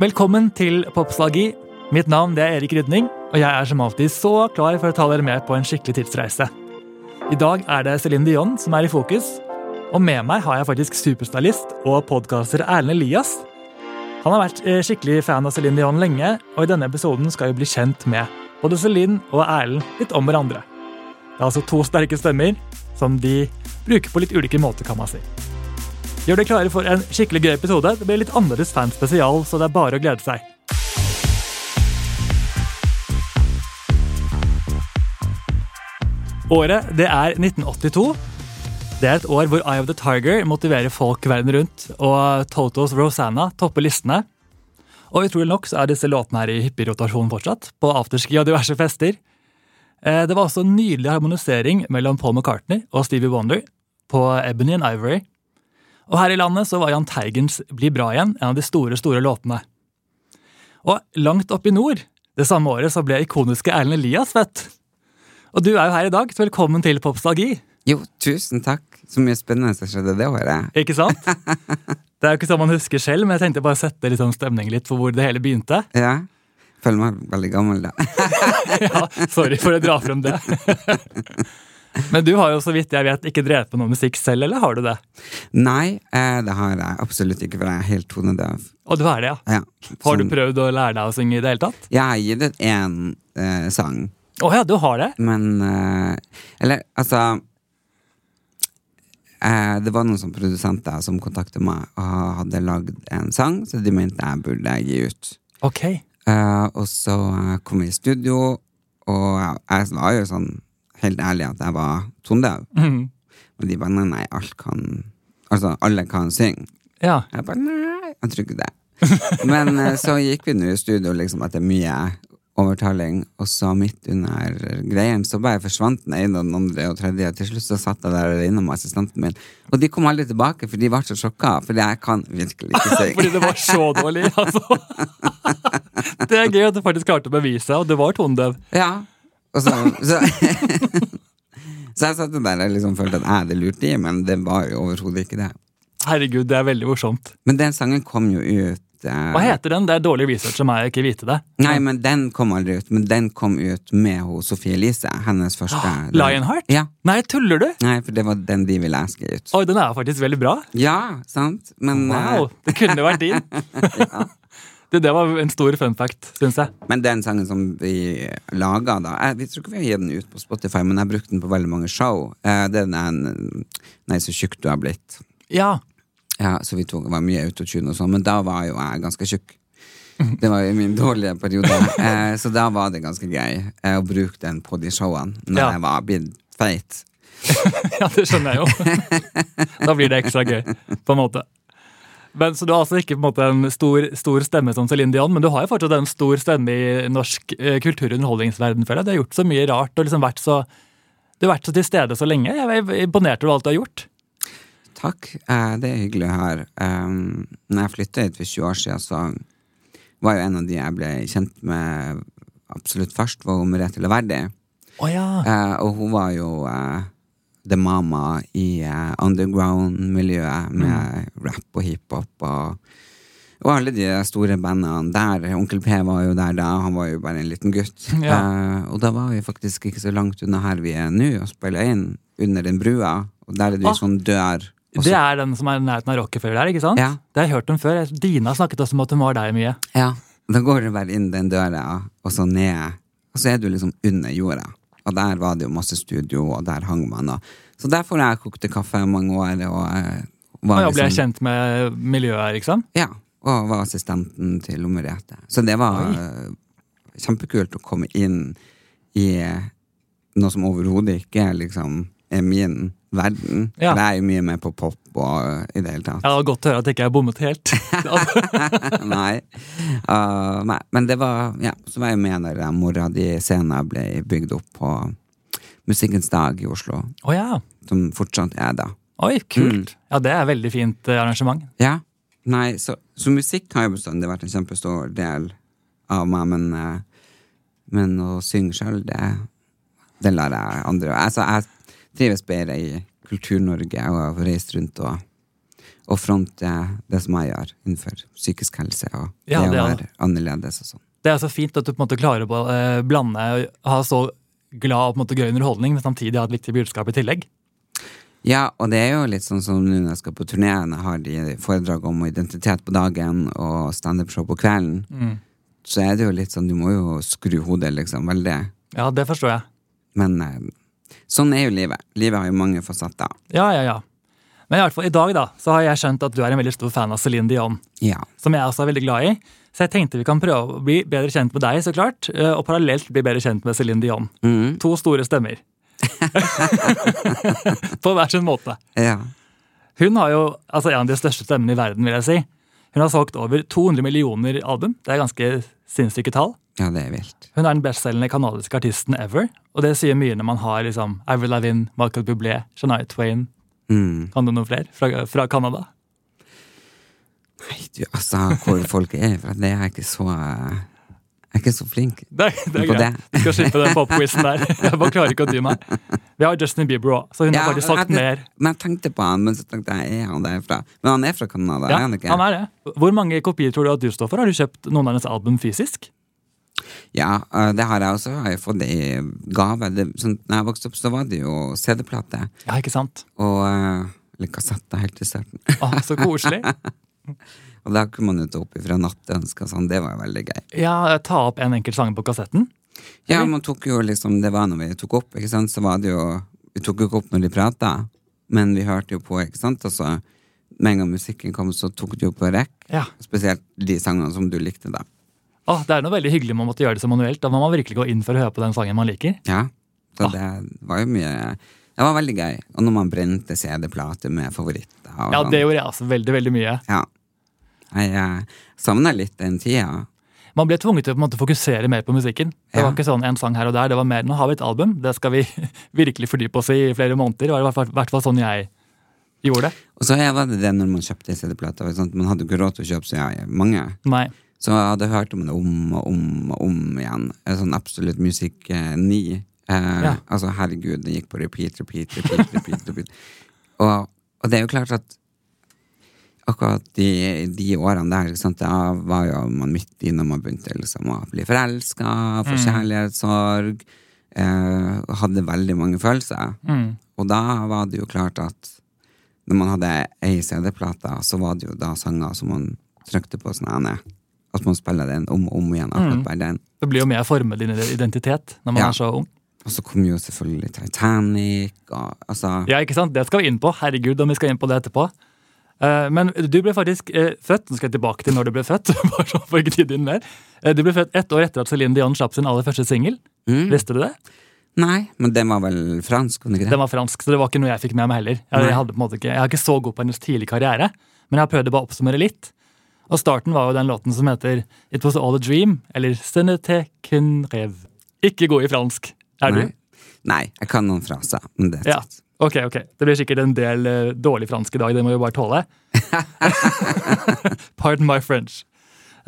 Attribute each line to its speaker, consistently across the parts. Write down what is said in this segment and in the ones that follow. Speaker 1: Velkommen til Popstalgi. Mitt navn det er Erik Rydning, og jeg er som alltid så klar for å ta dere med på en skikkelig tidsreise. I dag er det Céline Dion som er i fokus, og med meg har jeg faktisk superstylist og podkaster Erlend Elias. Han har vært eh, skikkelig fan av Céline Dion lenge, og i denne episoden skal vi bli kjent med både Céline og Erlend litt om hverandre. Det er altså to sterke stemmer som de bruker på litt ulike måter, kan man si. Gjør dere klare for en skikkelig gøy episode. Det blir litt annerledes fanspesial, så det er bare å glede seg. Året det er 1982. Det er et år hvor Eye of the Tiger motiverer folk verden rundt, og Totos Rosanna topper listene. Og utrolig nok så er disse låtene her i hyppig rotasjon fortsatt, på afterski og diverse fester. Eh, Det var også en nydelig harmonisering mellom Paul McCartney og Stevie Wonder på Ebony and Ivory. Og her i landet så var Jahn Teigens Bli bra igjen en av de store, store låtene. Og langt opp i nord, det samme året så ble ikoniske Erlend Elias født. Og du er jo her i dag, så velkommen til Popstalgi,
Speaker 2: Jo, tusen takk. Så mye spennende som skjedde det året.
Speaker 1: ikke sant? Det er jo ikke sånn man husker selv, men jeg tenkte bare å sette litt sånn stemning litt for hvor det hele begynte.
Speaker 2: Ja. Føler meg veldig gammel, da.
Speaker 1: Ja, sorry for å dra frem det. Men du har jo så vidt jeg vet ikke drevet med noe musikk selv, eller har du det?
Speaker 2: Nei, eh, det har jeg absolutt ikke, for jeg er helt tonedøv.
Speaker 1: Og du er det, ja.
Speaker 2: Ja.
Speaker 1: Har du
Speaker 2: Sånn.
Speaker 1: prøvd å lære deg å synge i det hele tatt?
Speaker 2: Jeg har gitt ut én eh, sang,
Speaker 1: Å ja, du har det?
Speaker 2: men eh, Eller, altså eh, Det var noen sånne produsenter som kontaktet meg og hadde lagd en sang, så de mente jeg burde gi ut.
Speaker 1: Ok.
Speaker 2: Eh, og så eh, kom vi i studio, og jeg, jeg var jo sånn helt ærlig at jeg var tonedøv.
Speaker 1: Mhm.
Speaker 2: Og de bare nei, nei, alt kan Altså, alle kan synge.
Speaker 1: Ja.
Speaker 2: Jeg bare nei, jeg tror ikke det. Men eh, så gikk vi nå i studio liksom etter mye overtaling, og så midt under greien så bare forsvant den ene og den andre og tredje, og til slutt så satt jeg der alene med assistenten min. Og de kom aldri tilbake, for de ble så sjokka, for jeg kan virkelig ikke synge.
Speaker 1: Fordi det var så dårlig, altså. Det er gøy at du faktisk klarte å bevise, og det var tonedøv.
Speaker 2: Ja. Og så, så Så jeg satt der og liksom følte at jeg hadde lurt de, men det var jo overhodet ikke det.
Speaker 1: Herregud, det er veldig morsomt.
Speaker 2: Men den sangen kom jo ut eh,
Speaker 1: Hva heter den? Det er dårlig research av meg å ikke vite det.
Speaker 2: Nei, men den kom aldri ut. Men den kom ut med ho, Sofie Elise, hennes
Speaker 1: Ah,
Speaker 2: første
Speaker 1: Lionheart?
Speaker 2: Ja.
Speaker 1: Nei, tuller du?
Speaker 2: Nei, for det var den de ville jeg skulle gi ut.
Speaker 1: Oi, den er faktisk veldig bra.
Speaker 2: Ja, sant? Men, eh,
Speaker 1: Wow, det kunne vært din. Du, det var en stor fun fact, syns jeg.
Speaker 2: eh, men den sangen som vi laga, da jeg, Vi tror ikke vi har gitt den ut på Spotify, men jeg brukte den på veldig mange show. Eh, det er den Nei, så tjukk du har blitt.
Speaker 1: Ja.
Speaker 2: Ja, Så vi tok, var mye autotune og sånn, men da var jo jeg ganske tjukk.
Speaker 1: Mhm.
Speaker 2: Det var jo min dårlige periode. Eh, så da var det ganske gøy eh, å bruke den på de showene når
Speaker 1: Ja.
Speaker 2: jeg var blitt feit.
Speaker 1: ja, det skjønner jeg jo. Da blir det ekstra gøy, på en måte. Men, så du har altså ikke på en, måte, en stor, stor stemme som Céline Dion, men du har jo fortsatt en stor stemme i norsk eh, kultur- og underholdningsverden, føler jeg. Du har gjort så mye rart og liksom vært så du har vært så til stede så lenge. Jeg er imponert over alt du har gjort.
Speaker 2: Takk, eh, det er hyggelig å høre. Um, når jeg flytta hit for 20 år siden, så var jo en av de jeg ble kjent med absolutt først, var hun Merete Leverdi.
Speaker 1: Å ja.
Speaker 2: Eh, og hun var jo eh, the mama i eh, underground-miljøet
Speaker 1: Mm.
Speaker 2: med rap og hiphop og, og alle de store bandene der. Onkel P var jo der da, han var jo bare en liten gutt.
Speaker 1: Ja.
Speaker 2: Eh, og da var vi faktisk ikke så langt unna her vi er nå, og spilla inn under den brua. Og der er det
Speaker 1: Ah.
Speaker 2: jo sånn dør. og
Speaker 1: Det
Speaker 2: så-
Speaker 1: er den som er i nærheten av Rockefeller der, ikke sant?
Speaker 2: Ja.
Speaker 1: Det har jeg hørt om før. Dina snakket også om at hun var der mye.
Speaker 2: Ja. Da går du bare inn den døra, og så ned. Og så er du liksom under jorda. Og der var det jo masse studio, og der hang man. Og. Så derfor har jeg kokt kaffe i mange år. Og, eh,
Speaker 1: Og
Speaker 2: var
Speaker 1: jeg ble
Speaker 2: liksom-
Speaker 1: kjent med miljøet, liksom.
Speaker 2: Ja, og var assistenten til Merete. Så det var eh, kjempekult å komme inn i eh, noe som overhodet ikke liksom, er min verden.
Speaker 1: Ja.
Speaker 2: For jeg er jo mye med på pop og eh, i det hele tatt.
Speaker 1: Ja, det var godt å høre at jeg ikke har bommet helt. Altså,
Speaker 2: nei. Uh, nei. Men det var Ja, så var jeg med når jeg- mora di senere ble bygd opp på Musikkens dag i Oslo,
Speaker 1: Å ja.
Speaker 2: som fortsatt er da.
Speaker 1: Oi,
Speaker 2: Mm.
Speaker 1: kult. Ja, det er veldig fint eh, arrangement.
Speaker 2: Ja. Nei, så, så musikk har jo bestandig vært en kjempestor del av meg, men, eh, men å synge sjøl, det, det lar jeg andre Altså, jeg trives bedre i Kultur-Norge og har reist rundt og å fronte det som jeg gjør innenfor psykisk helse og
Speaker 1: Ja,
Speaker 2: det
Speaker 1: det
Speaker 2: å
Speaker 1: er
Speaker 2: være annerledes og sånn.
Speaker 1: Det er så fint at du på en måte klarer å eh, blande ha så glad og på en måte gøy underholdning, men samtidig ha et viktig budskap i tillegg.
Speaker 2: Ja, og det er jo litt sånn som nå når jeg skal på turnéen, jeg har de foredrag om identitet på dagen og standup-show på kvelden, så er det jo litt sånn, du må jo skru hodet liksom veldig.
Speaker 1: Ja, det forstår jeg.
Speaker 2: Men eh, sånn er jo livet. Livet har jo mange fasetter.
Speaker 1: Ja, ja, ja. Men i, hvert fall, i dag da, så har jeg skjønt at du er en veldig stor fan av Celine Dion,
Speaker 2: Ja.
Speaker 1: som jeg også er veldig glad i. Så jeg tenkte vi kan prøve å bli bedre kjent med deg, så klart, eh, og parallelt bli bedre kjent med Celine Dion.
Speaker 2: Mhm.
Speaker 1: To store stemmer. På hver sin måte.
Speaker 2: ja.
Speaker 1: Hun har jo altså en av de største stemmene i verden, vil jeg si. Hun har solgt over 200 millioner album. Det er ganske sinnssyke tall.
Speaker 2: Ja, det er vilt.
Speaker 1: Hun er den bestselgende kanadiske artisten ever, og det sier mye når man har liksom Avril Lavigne, Michael Bublé, Shania Twain,
Speaker 2: Mm.
Speaker 1: kan du noen flere fra, fra Canada?
Speaker 2: Nei, du, altså, hvor folk er fra, det er jeg ikke så eh, Jeg er ikke så flink.
Speaker 1: Det, er- det er
Speaker 2: På
Speaker 1: greit.
Speaker 2: det.
Speaker 1: Du skal slippe den pop-quizen der. Jeg bare klarer ikke å dy meg. Vi har Justin Bieber òg, så hun har faktisk sagt
Speaker 2: jeg,
Speaker 1: mer.
Speaker 2: Men jeg tenkte på han, men så tenkte jeg, er han derfra? Men han er fra Canada,
Speaker 1: Ja,
Speaker 2: er
Speaker 1: han
Speaker 2: han ikke?
Speaker 1: er det. Hvor mange kopier tror du at du står for? Har du kjøpt noen av hennes album fysisk?
Speaker 2: Ja, eh, det har jeg også. Har jeg fått det i gave. Det, sånn, når jeg vokste opp, så var det jo CD-plate.
Speaker 1: Ja, ikke sant?
Speaker 2: Og eh, eller kassetter helt i starten.
Speaker 1: Å, så koselig.
Speaker 2: Og da kunne man jo ta opp ifra nattønsker og sånn. Det var jo veldig gøy.
Speaker 1: Ja, ta opp en enkelt sang på kassetten.
Speaker 2: Ja, man tok jo liksom, det var når vi tok opp, ikke sant, så var det jo, vi tok jo ikke opp når de pratet, men vi hørte jo på, ikke sant, og så, med en gang musikken kom, så tok du jo på rekk,
Speaker 1: Ja.
Speaker 2: spesielt de sangene som du likte da.
Speaker 1: Å, det er noe veldig hyggelig med å måtte gjøre det så manuelt. Da må man virkelig gå inn for å høre på den sangen man liker.
Speaker 2: Ja, så
Speaker 1: Ah.
Speaker 2: det var jo mye, det var veldig gøy, og når man brente CD-plater med favoritter. og
Speaker 1: Ja,
Speaker 2: sånn.
Speaker 1: det gjorde jeg altså veldig, veldig mye.
Speaker 2: Ja. Jeg eh, savner litt den tida.
Speaker 1: Man ble tvunget til å på en måte fokusere mer på musikken. Det
Speaker 2: Ja.
Speaker 1: var ikke sånn en sang her og der, det var mer nå har vi et album, det skal vi virkelig fordype oss i i flere måneder. Det var i hvert fall- hvert fall sånn jeg gjorde det.
Speaker 2: Og så var det det når man kjøpte CD-plater, ikke sant, man hadde jo ikke råd til å kjøpe så ja, mange.
Speaker 1: Nei.
Speaker 2: Så jeg hadde hørt om det om og om og om igjen. En Sånn absolutt musikk eh, ni. Eh,
Speaker 1: Ja.
Speaker 2: Altså, herregud, det gikk på repeat, repeat, repeat. repeat, repeat. Og, og det er jo klart at akkurat de, de årene der, ikke sant, da var jo man midt i når man begynte liksom, å bli forelska, få kjærlighetssorg. Eh, og hadde veldig mange følelser.
Speaker 1: Mm.
Speaker 2: Og da var det jo klart at når man hadde ei CD-plate, så var det jo da sanger som man trykte på sånn ene. At man spiller den om og om igjen.
Speaker 1: Mm.
Speaker 2: akkurat bare den.
Speaker 1: Det blir jo med å forme din identitet når man
Speaker 2: Ja.
Speaker 1: er så ung.
Speaker 2: Og så kom jo selvfølgelig Titanic og altså
Speaker 1: Ja, ikke sant? Det skal vi inn på. Herregud, om vi skal inn på det etterpå. Eh, Men du ble faktisk eh, født Nå skal jeg tilbake til når du ble født. bare sånn for ikke tiden mer. Eh, Du ble født ett år etter at Celine Dion slapp sin aller første singel.
Speaker 2: mm.
Speaker 1: Visste du det?
Speaker 2: Nei, men den var vel fransk, var den ikke
Speaker 1: Den
Speaker 2: det?
Speaker 1: var fransk, så det var ikke noe jeg fikk med meg heller. Jeg,
Speaker 2: Nei.
Speaker 1: jeg, hadde på en måte ikke, jeg er ikke så god på hennes tidlige karriere, men jeg prøvde bare å oppsummere litt. Og starten var jo den låten som heter It Was All A Dream, eller Senete Kun Rev. Ikke god i fransk, er
Speaker 2: Nei.
Speaker 1: du?
Speaker 2: Nei, jeg kan noen fraser. Men det er
Speaker 1: Ja.
Speaker 2: sant.
Speaker 1: Ok, ok. Det blir sikkert en del eh, dårlig fransk i dag, det må vi bare tåle. Pardon my French.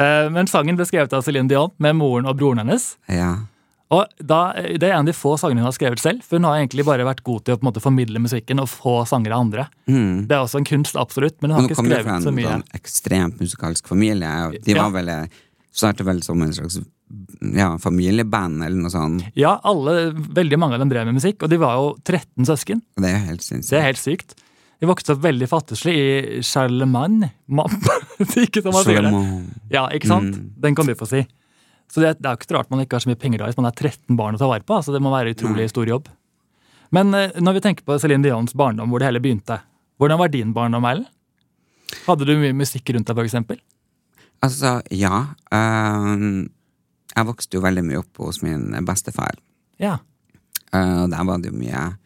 Speaker 1: Eh, men sangen ble skrevet av Céline Dion med moren og broren hennes.
Speaker 2: Ja.
Speaker 1: Og da, eh, Det er en av de få sangene hun har skrevet selv. for Hun har egentlig bare vært god til å på en måte formidle musikken og få sanger av andre.
Speaker 2: Mm.
Speaker 1: Det er også en kunst, absolutt, men hun har
Speaker 2: Og nå
Speaker 1: ikke
Speaker 2: kom jo fra
Speaker 1: skrevet
Speaker 2: en
Speaker 1: så mye.
Speaker 2: sånn ekstremt musikalsk familie. og De
Speaker 1: Ja.
Speaker 2: var vel eh, startet vel som en slags ja, familieband eller noe sånt.
Speaker 1: Ja, alle, Veldig mange av dem drev med musikk, og de var jo 13 søsken.
Speaker 2: Og det er jo helt
Speaker 1: Det er
Speaker 2: sinnssykt.
Speaker 1: helt sykt. De vokste opp veldig fattigslig i Charlemagne. Mam- Det er ikke som man sier det.
Speaker 2: Solomon.
Speaker 1: Ja, ikke sant?
Speaker 2: Mm.
Speaker 1: Den kan du få si. Så det, det er jo ikke så rart man ikke har så mye penger da, hvis man er 13 barn å ta vare på. altså Det må være utrolig stor jobb. Men eh, når vi tenker på Celine Dions barndom, hvor det hele begynte, hvordan var din barndom, Erlend? Hadde du mye musikk rundt deg, for eksempel?
Speaker 2: Altså, ja. ehm, jeg vokste jo veldig mye opp hos min bestefar,
Speaker 1: Ja.
Speaker 2: eh, og der var det jo mye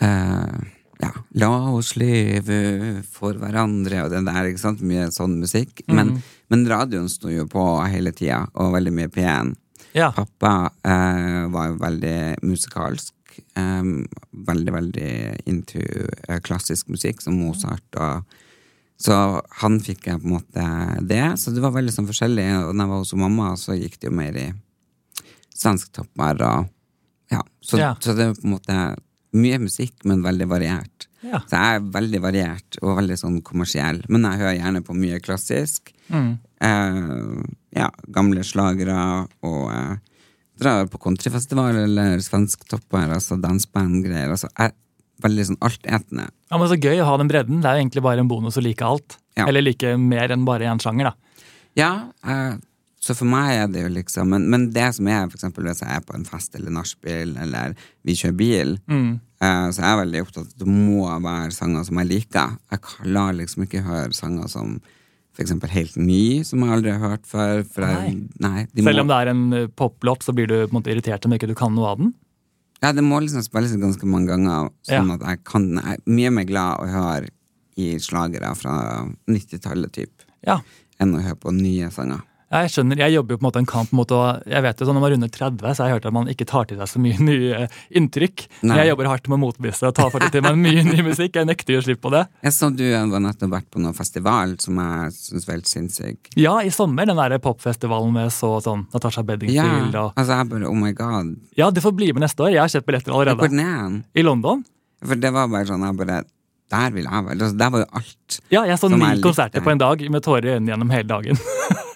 Speaker 2: eh, Ja, la oss leve for hverandre og det der, ikke sant? Mye sånn musikk. Men, men radioen sto jo på hele tida, og veldig mye P1.
Speaker 1: ja.
Speaker 2: Pappa eh, var jo veldig musikalsk. em, veldig, veldig into eh, klassisk musikk, som Mozart og Så han fikk jeg på en måte det. Så det var veldig sånn forskjellig. Og når jeg var hos mamma, så gikk det jo mer i svensk toppmar og Ja. Så,
Speaker 1: Ja.
Speaker 2: så det var på en måte mye musikk, men veldig variert.
Speaker 1: Ja.
Speaker 2: Så jeg er veldig variert og veldig sånn kommersiell. Men jeg hører gjerne på mye klassisk.
Speaker 1: Mm.
Speaker 2: Eh, ja, gamle slagere og eh, drar på countryfestival eller svensktopper, altså dansebandgreier. Altså, jeg er veldig sånn altetende.
Speaker 1: Ja, men Så gøy å ha den bredden. Det er jo egentlig bare en bonus å like alt.
Speaker 2: Ja.
Speaker 1: Eller like mer enn bare én sjanger, da.
Speaker 2: Ja, eh, så for meg er det jo liksom Men, men det som er, for eksempel hvis jeg er på en fest eller nachspiel, eller vi kjører bil,
Speaker 1: Mm.
Speaker 2: eh, så er jeg veldig opptatt av at det må være sanger som jeg liker. Jeg kan- lar liksom ikke høre sanger som for eksempel helt ny, som jeg aldri har hørt før. For jeg, nei, de
Speaker 1: Selv
Speaker 2: må,
Speaker 1: om det er en eh, poplåt, så blir du på en måte irritert om ikke du kan noe av den.
Speaker 2: Ja, det må liksom spilles ganske mange ganger, sånn
Speaker 1: Ja.
Speaker 2: at jeg kan Jeg er mye mer glad å høre i slagere fra 90-tallet, typ,
Speaker 1: Ja,
Speaker 2: enn å høre på nye sanger.
Speaker 1: jeg skjønner, jeg jobber jo på en måte en kamp mot å Jeg vet jo sånn når man runder 30, så har jeg hørt at man ikke tar til seg så mye nye inntrykk. Men
Speaker 2: Nei.
Speaker 1: jeg jobber hardt med å motbevise det og tar faktisk til meg mye ny musikk. Jeg nekter jo å slippe på det.
Speaker 2: Jeg så du var nettopp vært på noen festival som jeg syns var helt sinnssyk.
Speaker 1: Ja, i sommer, den der popfestivalen med så sånn Natasha
Speaker 2: Ja,
Speaker 1: Bedingfield og
Speaker 2: altså jeg bare, oh my god,
Speaker 1: Ja, du får bli med neste år. Jeg har kjøpt billetter
Speaker 2: hvor
Speaker 1: allerede.
Speaker 2: den er den?
Speaker 1: I London?
Speaker 2: For det var bare sånn, jeg bare, der vil jeg være. Altså, Der var jo alt.
Speaker 1: Ja, jeg så
Speaker 2: Som
Speaker 1: ni
Speaker 2: er litt
Speaker 1: konserter
Speaker 2: der.
Speaker 1: på en dag med tårer i øynene gjennom hele dagen.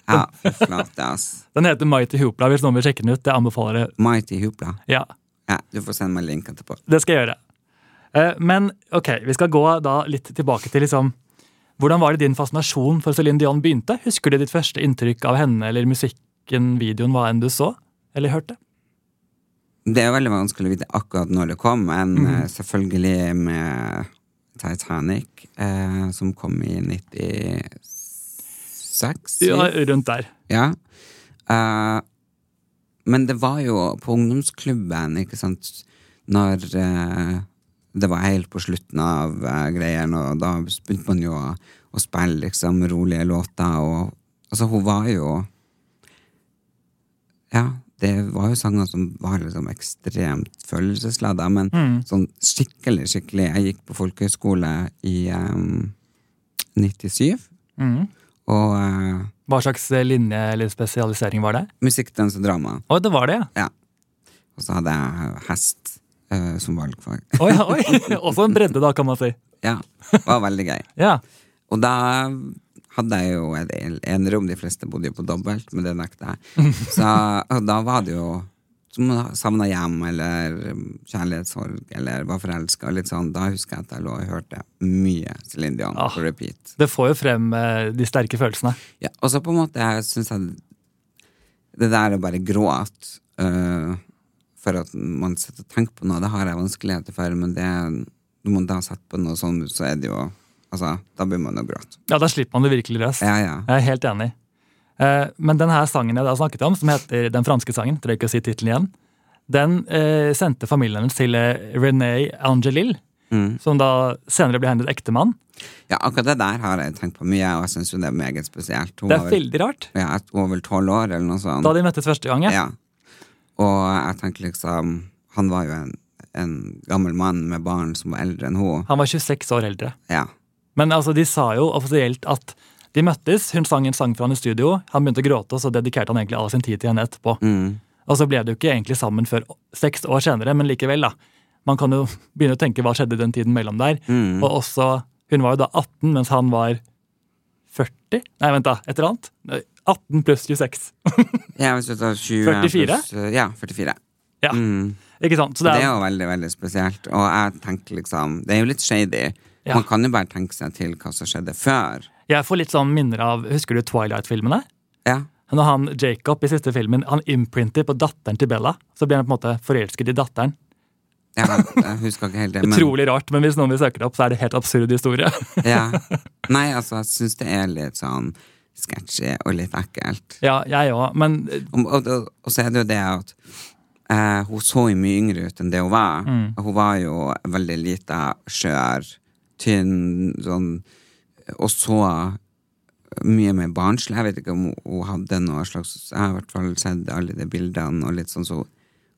Speaker 2: Ja, fy flate, ass.
Speaker 1: Den heter Mighty Hoopla, hvis noen vil sjekke den ut. Jeg anbefaler det.
Speaker 2: Mighty Hoopla.
Speaker 1: Ja,
Speaker 2: Ja, du får sende meg link etterpå.
Speaker 1: Det skal jeg gjøre. Eh, Men ok, vi skal gå da litt tilbake til liksom Hvordan var det din fascinasjon for Céline Dion begynte? Husker du ditt første inntrykk av henne eller musikken, videoen, hva enn du så? Eller hørte?
Speaker 2: Det er veldig vanskelig å vite akkurat når det kom, men
Speaker 1: Mhm.
Speaker 2: eh, selvfølgelig med Titanic, eh, som kom i 96?
Speaker 1: Ja, rundt der.
Speaker 2: Ja. Eh, men det var jo på ungdomsklubben, ikke sant, når eh, det var helt på slutten av eh, greiene, og da begynte man jo å, å spille liksom rolige låter, og altså, hun var jo Ja, det var jo sanger som var liksom ekstremt følelsesladda, men
Speaker 1: Mm.
Speaker 2: sånn skikkelig, skikkelig Jeg gikk på folkehøyskole i eh, 97,
Speaker 1: Mhm.
Speaker 2: og eh,
Speaker 1: Hva slags linje eller spesialisering var det?
Speaker 2: musikk, dans og drama.
Speaker 1: Å, det var det, ja.
Speaker 2: Ja. Og så hadde jeg hest eh, som valgfag.
Speaker 1: Oi, oi. Også en bredde, da, kan man si.
Speaker 2: ja, det var veldig gøy.
Speaker 1: Ja.
Speaker 2: Og da hadde jeg jo et en- enerom, de fleste bodde jo på dobbelt, men det nekta jeg. Så og da var det jo som savna hjem eller um, kjærlighetssorg eller var forelska. Da husker jeg at jeg lå og hørte mye Céline Dion
Speaker 1: Ah.
Speaker 2: på repeat.
Speaker 1: Det får jo frem eh, de sterke følelsene.
Speaker 2: Ja, og så på en måte jeg syns jeg Det der å bare gråte øh, for at man sitter og tenker på noe, det har jeg vanskeligheter for, men det når man da setter på noe sånn, så er det jo Altså, da begynner man å gråte.
Speaker 1: Ja, da slipper man det virkelig løs.
Speaker 2: Ja, ja.
Speaker 1: Jeg er helt enig. Eh, Men den her sangen jeg da snakket om, som heter den franske sangen, trenger ikke å si tittelen igjen, den eh, sendte familien hennes til eh, René Angelil, som da senere ble hennes ektemann.
Speaker 2: ja, akkurat det der har jeg tenkt på mye, og jeg syns jo det er meget spesielt. Hun
Speaker 1: Det
Speaker 2: var
Speaker 1: er
Speaker 2: vel-
Speaker 1: veldig rart.
Speaker 2: ja, jeg var vel tolv år, eller noe sånt.
Speaker 1: Da de møttes første gang, ja.
Speaker 2: Ja. Og jeg tenker liksom Han var jo en, en gammel mann med barn som var eldre enn hun.
Speaker 1: Han var 26 år eldre.
Speaker 2: Ja.
Speaker 1: Men altså, de sa jo offisielt at de møttes, hun sang en sang for han i studio, han begynte å gråte, og så dedikerte han egentlig all sin tid til henne etterpå.
Speaker 2: Mm.
Speaker 1: Og så ble de jo ikke egentlig sammen før seks år senere, men likevel, da. Man kan jo begynne å tenke hva skjedde den tiden mellom der.
Speaker 2: Mm.
Speaker 1: Og også, hun var jo da 18, mens han var 40? Nei, vent da, et eller annet? Nei, 18 pluss 26.
Speaker 2: Ja, hvis du tar 20
Speaker 1: 44?
Speaker 2: pluss, eh, ja, 44.
Speaker 1: Ja.
Speaker 2: Mm.
Speaker 1: Ikke sant? Så
Speaker 2: Det
Speaker 1: det er,
Speaker 2: er jo veldig, veldig spesielt. Og jeg tenker liksom Det er jo litt shady.
Speaker 1: Ja.
Speaker 2: Man kan jo bare tenke seg til hva som skjedde før.
Speaker 1: jeg får litt sånn minner av Husker du Twilight-filmene?
Speaker 2: Ja.
Speaker 1: Når han Jacob i siste filmen han imprinter på datteren til Bella, så blir han på en måte forelsket i datteren.
Speaker 2: ja jeg husker ikke helt det, men
Speaker 1: Utrolig rart, men hvis noen vil søke det opp, så er det helt absurd historie.
Speaker 2: ja. Nei, altså, jeg syns det er litt sånn sketchy og litt ekkelt.
Speaker 1: ja, jeg òg, men
Speaker 2: Og, og, og, og så er det jo det at eh, hun så jo mye yngre ut enn det hun var. Hun var jo veldig lita, skjør, tynn, sånn Og så mye mer barnslig. Jeg vet ikke om hun- hun hadde noe slags Jeg har i hvert fall sett alle de bildene, og litt sånn så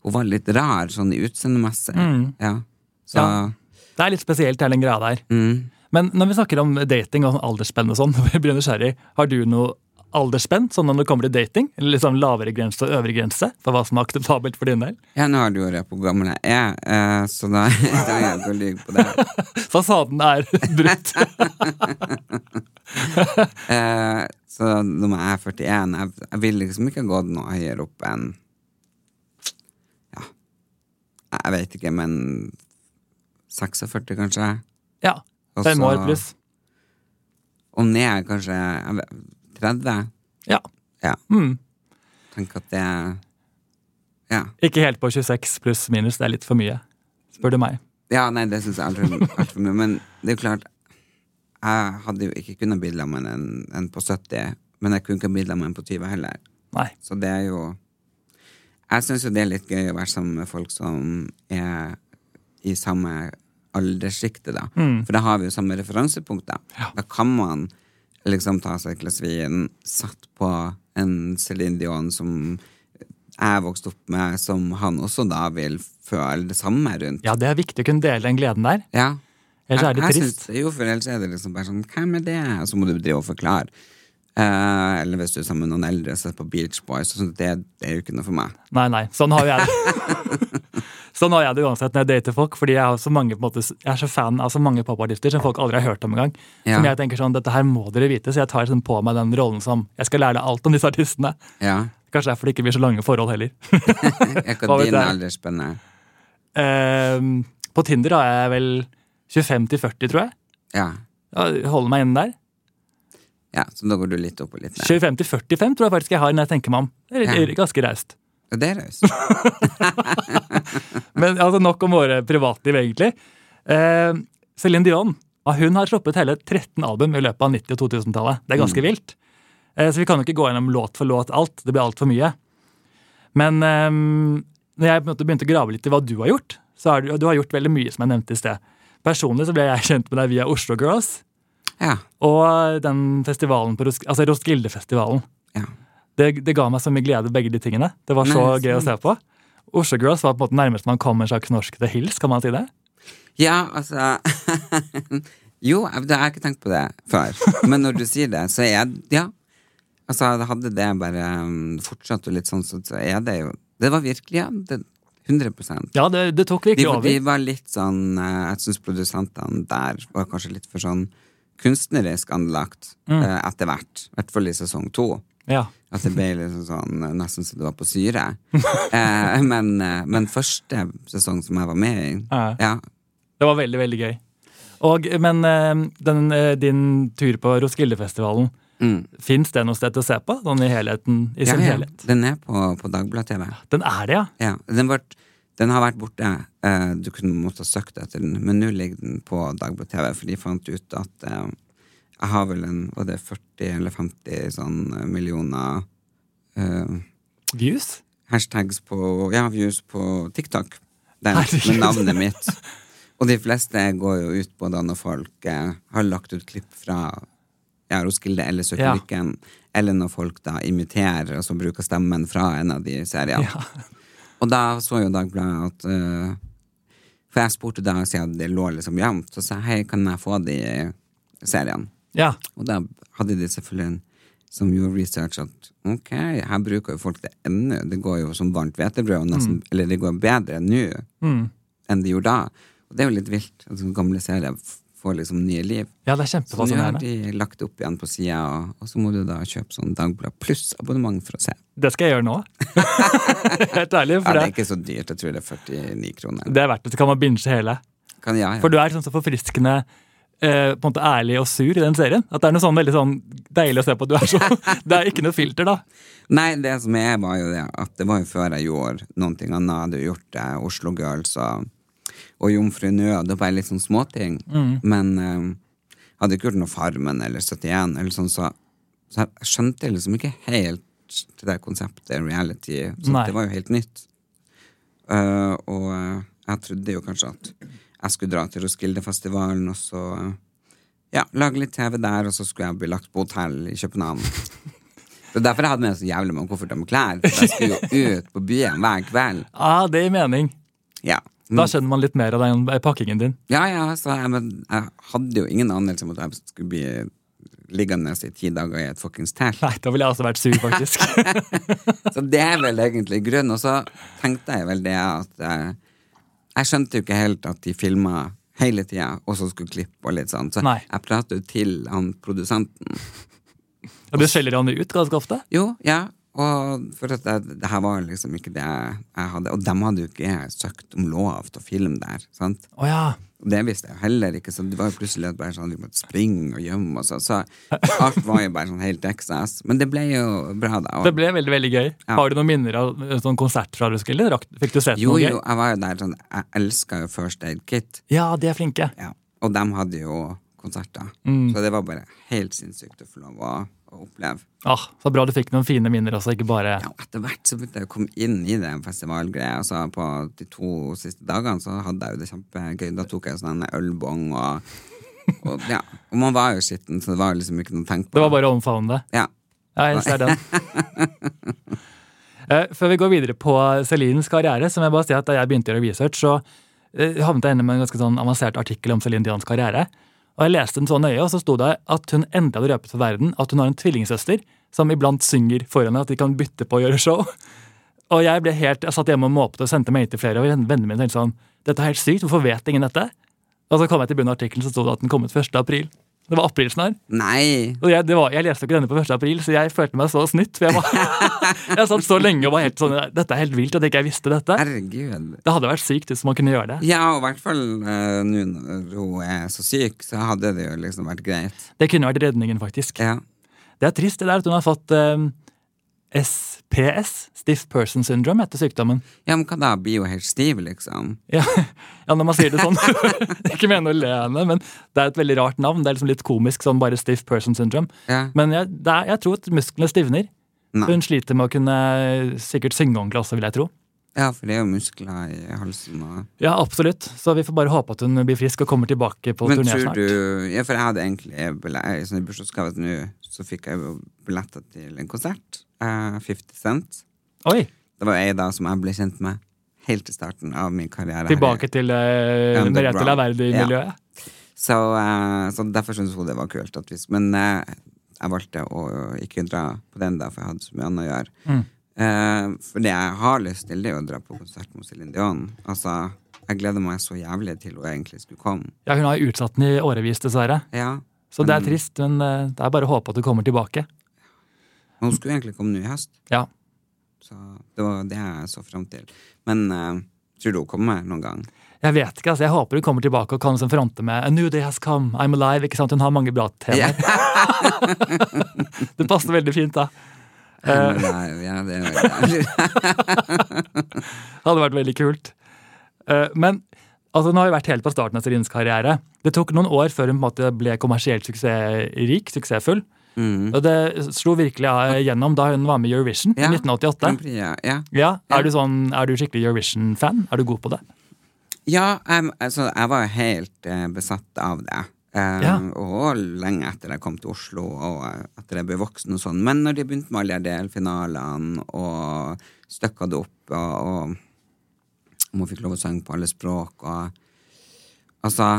Speaker 2: Hun var litt rar, sånn i utseendemessig. Ja. Så
Speaker 1: Ja. det er litt spesielt, hele den greia der.
Speaker 2: Mm.
Speaker 1: Men når vi snakker om dating og sånn aldersspenn og sånn, jeg blir nysgjerrig, har du noe aldersspenn, sånn når det kommer til dating? Eller liksom lavere grense og øvre grense for hva som er akseptabelt for din del?
Speaker 2: Ja, nå har du jo røpt på gamle jeg, eh, så da, da er jeg på lyg på det.
Speaker 1: Fasaden er brutt.
Speaker 2: Eh, så nå er jeg 41. Jeg, jeg vil liksom ikke gå noe høyere opp enn Ja, jeg- jeg vet ikke, men 46, kanskje?
Speaker 1: Ja.
Speaker 2: Og
Speaker 1: Fem
Speaker 2: så-
Speaker 1: år pluss.
Speaker 2: Og ned kanskje jeg vet, 30?
Speaker 1: Ja.
Speaker 2: Ja.
Speaker 1: Mm.
Speaker 2: Tenk at det Ja.
Speaker 1: Ikke helt på 26 pluss minus, det er litt for mye. Spør du meg.
Speaker 2: Ja, nei, det syns jeg er altfor alt for mye. Men det er jo klart, jeg hadde jo ikke kunnet bli sammen med en, en på 70, men jeg kunne ikke bli sammen med en på 20 heller.
Speaker 1: Nei.
Speaker 2: Så det er jo Jeg syns jo det er litt gøy å være sammen med folk som er i samme alderssjiktet, da. For da har vi jo samme referansepunkt, da. Da kan man liksom ta seg et glass vin, satt på en Céline Dion som jeg vokste opp med, som han også da vil føle det samme rundt.
Speaker 1: Ja, det er viktig å kunne dele den gleden der.
Speaker 2: Ja.
Speaker 1: Ellers er det
Speaker 2: Jeg- jeg
Speaker 1: trist.
Speaker 2: syns det, jo, for ellers er det liksom bare sånn Hvem er det? Og så må du drive og forklare. Eh, eller hvis du er sammen med noen eldre og ser på Beach Boys, og sånt, det, det er jo ikke noe for meg.
Speaker 1: Nei, nei. Sånn har jeg det. sånn har jeg det uansett når jeg dater folk. Fordi jeg, har så mange, på en måte, jeg er så fan av så mange popartister som folk aldri har hørt om engang.
Speaker 2: Ja.
Speaker 1: Som jeg tenker sånn, dette her må dere vite, så jeg tar liksom på meg den rollen som jeg skal lære deg alt om disse artistene.
Speaker 2: Ja.
Speaker 1: Kanskje derfor det ikke blir så lange forhold heller. Hva
Speaker 2: Jeg kan
Speaker 1: vet
Speaker 2: dine
Speaker 1: jeg?
Speaker 2: aldersspennet.
Speaker 1: Ehm, på Tinder har jeg vel 25 til 40, tror jeg.
Speaker 2: Ja.
Speaker 1: jeg holder meg inne der.
Speaker 2: ja. Så da går du litt opp og litt ned.
Speaker 1: 25 til 45 tror jeg faktisk jeg har når jeg tenker meg om. Det er
Speaker 2: Ja.
Speaker 1: ganske raust.
Speaker 2: Og det er raust.
Speaker 1: Men altså, nok om våre privatliv, egentlig. Eh, Céline Dion ja, hun har sluppet hele 13 album i løpet av 90- og 2000-tallet. Det er ganske vilt. Eh, så vi kan jo ikke gå gjennom låt for låt alt. Det blir altfor mye. Men eh, når jeg på en måte begynte å grave litt i hva du har gjort, så har du, du har gjort veldig mye, som jeg nevnte i sted. Personlig så ble jeg kjent med deg via Oslo Girls
Speaker 2: Ja.
Speaker 1: og den festivalen på Rosk altså Roskildefestivalen.
Speaker 2: ja.
Speaker 1: Det, det ga meg så mye glede, begge de tingene. Det var så
Speaker 2: Nei,
Speaker 1: gøy å se på. Oslo Girls var på en måte nærmest man kom en slags norsk til hils, kan man si det?
Speaker 2: Ja, altså Jo, jeg jeg har ikke tenkt på det før. Men når du sier det, så er jeg Ja. Altså, hadde det bare um, fortsatt og litt sånn, så så er det jo Det var virkelig, ja. Det, 100
Speaker 1: Ja, det, det tok
Speaker 2: de,
Speaker 1: virkelig over.
Speaker 2: de var litt sånn eh, Jeg syns produsentene der var kanskje litt for sånn kunstnerisk anlagt
Speaker 1: Mm.
Speaker 2: eh, etter hvert. I hvert fall i sesong to.
Speaker 1: Ja.
Speaker 2: At det ble liksom sånn eh, nesten så det var på syre. Eh, men, eh, men første sesong som jeg var med i,
Speaker 1: Ja.
Speaker 2: ja,
Speaker 1: Det var veldig, veldig gøy. Og, men eh, den, eh, din tur på Roskildefestivalen,
Speaker 2: Mm.
Speaker 1: fins det noe sted til å se på? Sånn i helheten? I sin
Speaker 2: ja, ja,
Speaker 1: helhet?
Speaker 2: den er på, på Dagbladet-TV.
Speaker 1: Den er det, ja.
Speaker 2: Ja, den, vart- den har vært borte. Eh, du kunne måtte ha søkt etter den, men nå ligger den på Dagbladet TV, for de fant ut at eh, jeg har vel en Var det 40 eller 50 sånn eh, millioner eh,
Speaker 1: Views?
Speaker 2: hashtags på Ja, views på TikTok. Der,
Speaker 1: Herregud.
Speaker 2: med navnet mitt. Og de fleste går jo ut på det når folk eh, har lagt ut klipp fra ja, Roskilde eller Søkerlykken, eller når folk da imiterer og så bruker stemmen fra en av de seriene. Og da så jo Dagbladet at eh, For jeg spurte da siden det lå liksom jevnt, så sa jeg hei, kan jeg få de seriene?
Speaker 1: Ja.
Speaker 2: Og da hadde de selvfølgelig en som gjorde research at ok, her bruker jo folk det ennå. Det går jo som varmt hvetebrød, og nesten-
Speaker 1: Mm.
Speaker 2: eller det går bedre nå enn det gjorde da. Og det er jo litt vilt. at sånne gamle serier f- får liksom nye liv.
Speaker 1: ja, det er
Speaker 2: Så nå har
Speaker 1: kjempefascinerende.
Speaker 2: de lagt det opp igjen på sida, og, og så må du da kjøpe sånn Dagbladet pluss-abonnement for å se.
Speaker 1: Det skal jeg gjøre nå. Helt ærlig.
Speaker 2: Ja,
Speaker 1: For
Speaker 2: det er
Speaker 1: det,
Speaker 2: ikke så dyrt. Jeg tror det er 49 kroner.
Speaker 1: det er verdt det. Så kan man binge hele.
Speaker 2: Kan, ja, ja.
Speaker 1: For du er liksom så forfriskende eh, på en måte ærlig og sur i den serien. At det er noe sånn veldig sånn deilig å se på. Du er så, det er ikke noe filter, da.
Speaker 2: Nei, det som er var jo det at det var jo før jeg gjorde noen ting annet. Jeg hadde jo gjort eh, Oslo Girls og, og Jomfru Nød og bare litt sånn småting. Men eh, jeg hadde ikke gjort noe Farmen eller 71 eller sånn, så, så jeg skjønte liksom ikke helt det der konseptet reality. Så
Speaker 1: Nei.
Speaker 2: det var jo helt nytt. Eh, og eh, jeg trodde jo kanskje at jeg skulle dra til Roskildefestivalen og så eh, ja, lage litt TV der, og så skulle jeg bli lagt på hotell i København. Det er derfor jeg hadde med så jævlig mange kofferter med klær. For jeg skulle jo ut på byen hver kveld.
Speaker 1: Ah, det gir mening.
Speaker 2: Ja,
Speaker 1: Da skjønner man litt mer av den pakkingen din.
Speaker 2: ja, ja så jeg, men jeg hadde jo ingen anelse om at jeg skulle bli liggende i ti dager i et fuckings telt.
Speaker 1: Nei, da ville jeg også vært sur, faktisk.
Speaker 2: Så det er vel egentlig grunnen. Og så tenkte jeg vel det at eh, Jeg skjønte jo ikke helt at de filma hele tida, og så skulle klippe og litt sånn. Så
Speaker 1: Nei.
Speaker 2: jeg prater jo til han produsenten.
Speaker 1: Og du skjeller han ut ganske ofte.
Speaker 2: Jo, ja. Og for at det, det her var liksom ikke det jeg, jeg hadde. Og dem hadde jo ikke søkt om lov til å filme der. sant?
Speaker 1: Å ja.
Speaker 2: Og det visste jeg jo heller ikke, så det var jo plutselig at bare sånn, vi måtte springe og gjemme oss. og Så alt var jo bare sånn helt Texas. Men det ble jo bra, da.
Speaker 1: Det
Speaker 2: Og,
Speaker 1: ble veldig veldig gøy.
Speaker 2: Ja.
Speaker 1: Har du noen minner av en sånn konsert fra Roskilde? Rakk- Fikk du sett
Speaker 2: jo,
Speaker 1: noe
Speaker 2: jo,
Speaker 1: gøy?
Speaker 2: jeg var jo der sånn Jeg elska jo First Aid Kit.
Speaker 1: Ja, de er flinke.
Speaker 2: Ja. Og dem hadde jo konserter.
Speaker 1: Mm.
Speaker 2: Så det var bare helt sinnssykt å få lov å, å oppleve.
Speaker 1: Ah, så bra du fikk noen fine minner også, ikke bare
Speaker 2: Ja, og etter hvert så begynte jeg å komme inn i det festivalgreia. Så på de to siste dagene så hadde jeg jo det kjempegøy. Da tok jeg sånn en ølbong og, og Ja. Og man var jo skitten, så det var liksom ikke noe å tenke på.
Speaker 1: Det var bare å omfavne det.
Speaker 2: Ja.
Speaker 1: Ja, jeg ser den. Eh, Før vi går videre på Celines karriere, så må jeg bare si at da jeg begynte å gjøre research, så eh, havnet jeg inne med en ganske sånn avansert artikkel om Celine Dions karriere. Og jeg leste den så nøye, og så sto det at hun endelig hadde røpet for verden at hun har en tvillingsøster som iblant synger for henne at de kan bytte på å gjøre show. Og jeg ble helt, jeg satt hjemme og måpte og sendte mail til flere, og vennene mine tenkte sånn Dette er helt sykt, hvorfor vet ingen dette? Og så kom jeg til bunnen av artikkelen, så sto det at den kom ut 1. april. Det var aprilsnarr.
Speaker 2: Nei!
Speaker 1: Og jeg, det var, jeg leste jo ikke denne på 1. april, så jeg følte meg så snytt. For jeg, var, jeg satt så lenge og var helt sånn Dette er helt vilt at jeg ikke visste dette.
Speaker 2: Herregud.
Speaker 1: Det hadde vært sykt hvis man kunne gjøre det.
Speaker 2: Ja, og i hvert fall eh, nå når hun er så syk, så hadde det jo liksom vært greit.
Speaker 1: Det kunne vært redningen, faktisk.
Speaker 2: Ja.
Speaker 1: Det er trist det der at hun har fått eh, SPS, Stiff Person Syndrome, etter sykdommen.
Speaker 2: ja, men hva da? Blir jo helt stiv, liksom.
Speaker 1: Ja, ja når man sier det sånn. ikke mener å le av henne, men det er et veldig rart navn. Det er liksom litt komisk, sånn bare Stiff Person Syndrome.
Speaker 2: Ja.
Speaker 1: Men jeg, det er, jeg tror at musklene stivner.
Speaker 2: Nei.
Speaker 1: Hun sliter med å kunne sikkert synge ordentlig også, vil jeg tro.
Speaker 2: ja, for det er jo muskler i halsen og
Speaker 1: Ja, absolutt. Så vi får bare håpe at hun blir frisk og kommer tilbake på
Speaker 2: Men
Speaker 1: turné
Speaker 2: tror
Speaker 1: snart.
Speaker 2: du Ja, for jeg hadde egentlig bille- sånn I bursdagsgave til nå så fikk jeg jo billetter til en konsert. eh, 50 Cent.
Speaker 1: Oi!
Speaker 2: Det var ei da som jeg ble kjent med helt i starten av min karriere. her i-
Speaker 1: Tilbake til uh,
Speaker 2: Underground.
Speaker 1: Merete Laverdi-miljøet.
Speaker 2: Så, eh, så derfor syntes hun det var kult. At vi, sk- men eh, jeg valgte å ikke dra på den, da, for jeg hadde så mye annet å gjøre. Eh, for det jeg har lyst til, det er å dra på konsert med Céline Dion. Altså, jeg gleder meg så jævlig til hun egentlig skulle komme.
Speaker 1: Ja, hun har jo utsatt den i årevis, dessverre.
Speaker 2: Ja.
Speaker 1: Så
Speaker 2: Mm.
Speaker 1: det er trist, men eh, det er bare å håpe at hun kommer tilbake.
Speaker 2: Hun skulle egentlig komme nå i høst.
Speaker 1: Ja.
Speaker 2: Så det var det jeg så fram til. Men eh, tror du hun kommer noen gang?
Speaker 1: Jeg vet ikke, altså. Jeg håper hun kommer tilbake og kan liksom fronte med A new day has come, I'm alive. ikke sant? Hun har mange bra temaer. det passer veldig fint, da.
Speaker 2: Men nei, ja, det er veldig
Speaker 1: Det hadde vært veldig kult. Eh, Men altså, hun har jo vært helt på starten av Celines karriere. Det tok noen år før hun på en måte ble kommersielt suksessrik, suksessfull.
Speaker 2: Mm.
Speaker 1: Og det slo virkelig av gjennom da hun var med i Eurovision
Speaker 2: Ja.
Speaker 1: i 1988.
Speaker 2: Grand Prix, ja. ja.
Speaker 1: Ja, er du, sånn, er du skikkelig Eurovision-fan? Er du god på det?
Speaker 2: ja em, altså, jeg var jo helt eh, besatt av det. Eh,
Speaker 1: Ja.
Speaker 2: Og lenge etter jeg kom til Oslo, og eh, etter jeg ble voksen og sånn. Men når de begynte med alle de delfinalene, og støkka det opp, og, og om hun fikk lov å synge på alle språk, og Altså,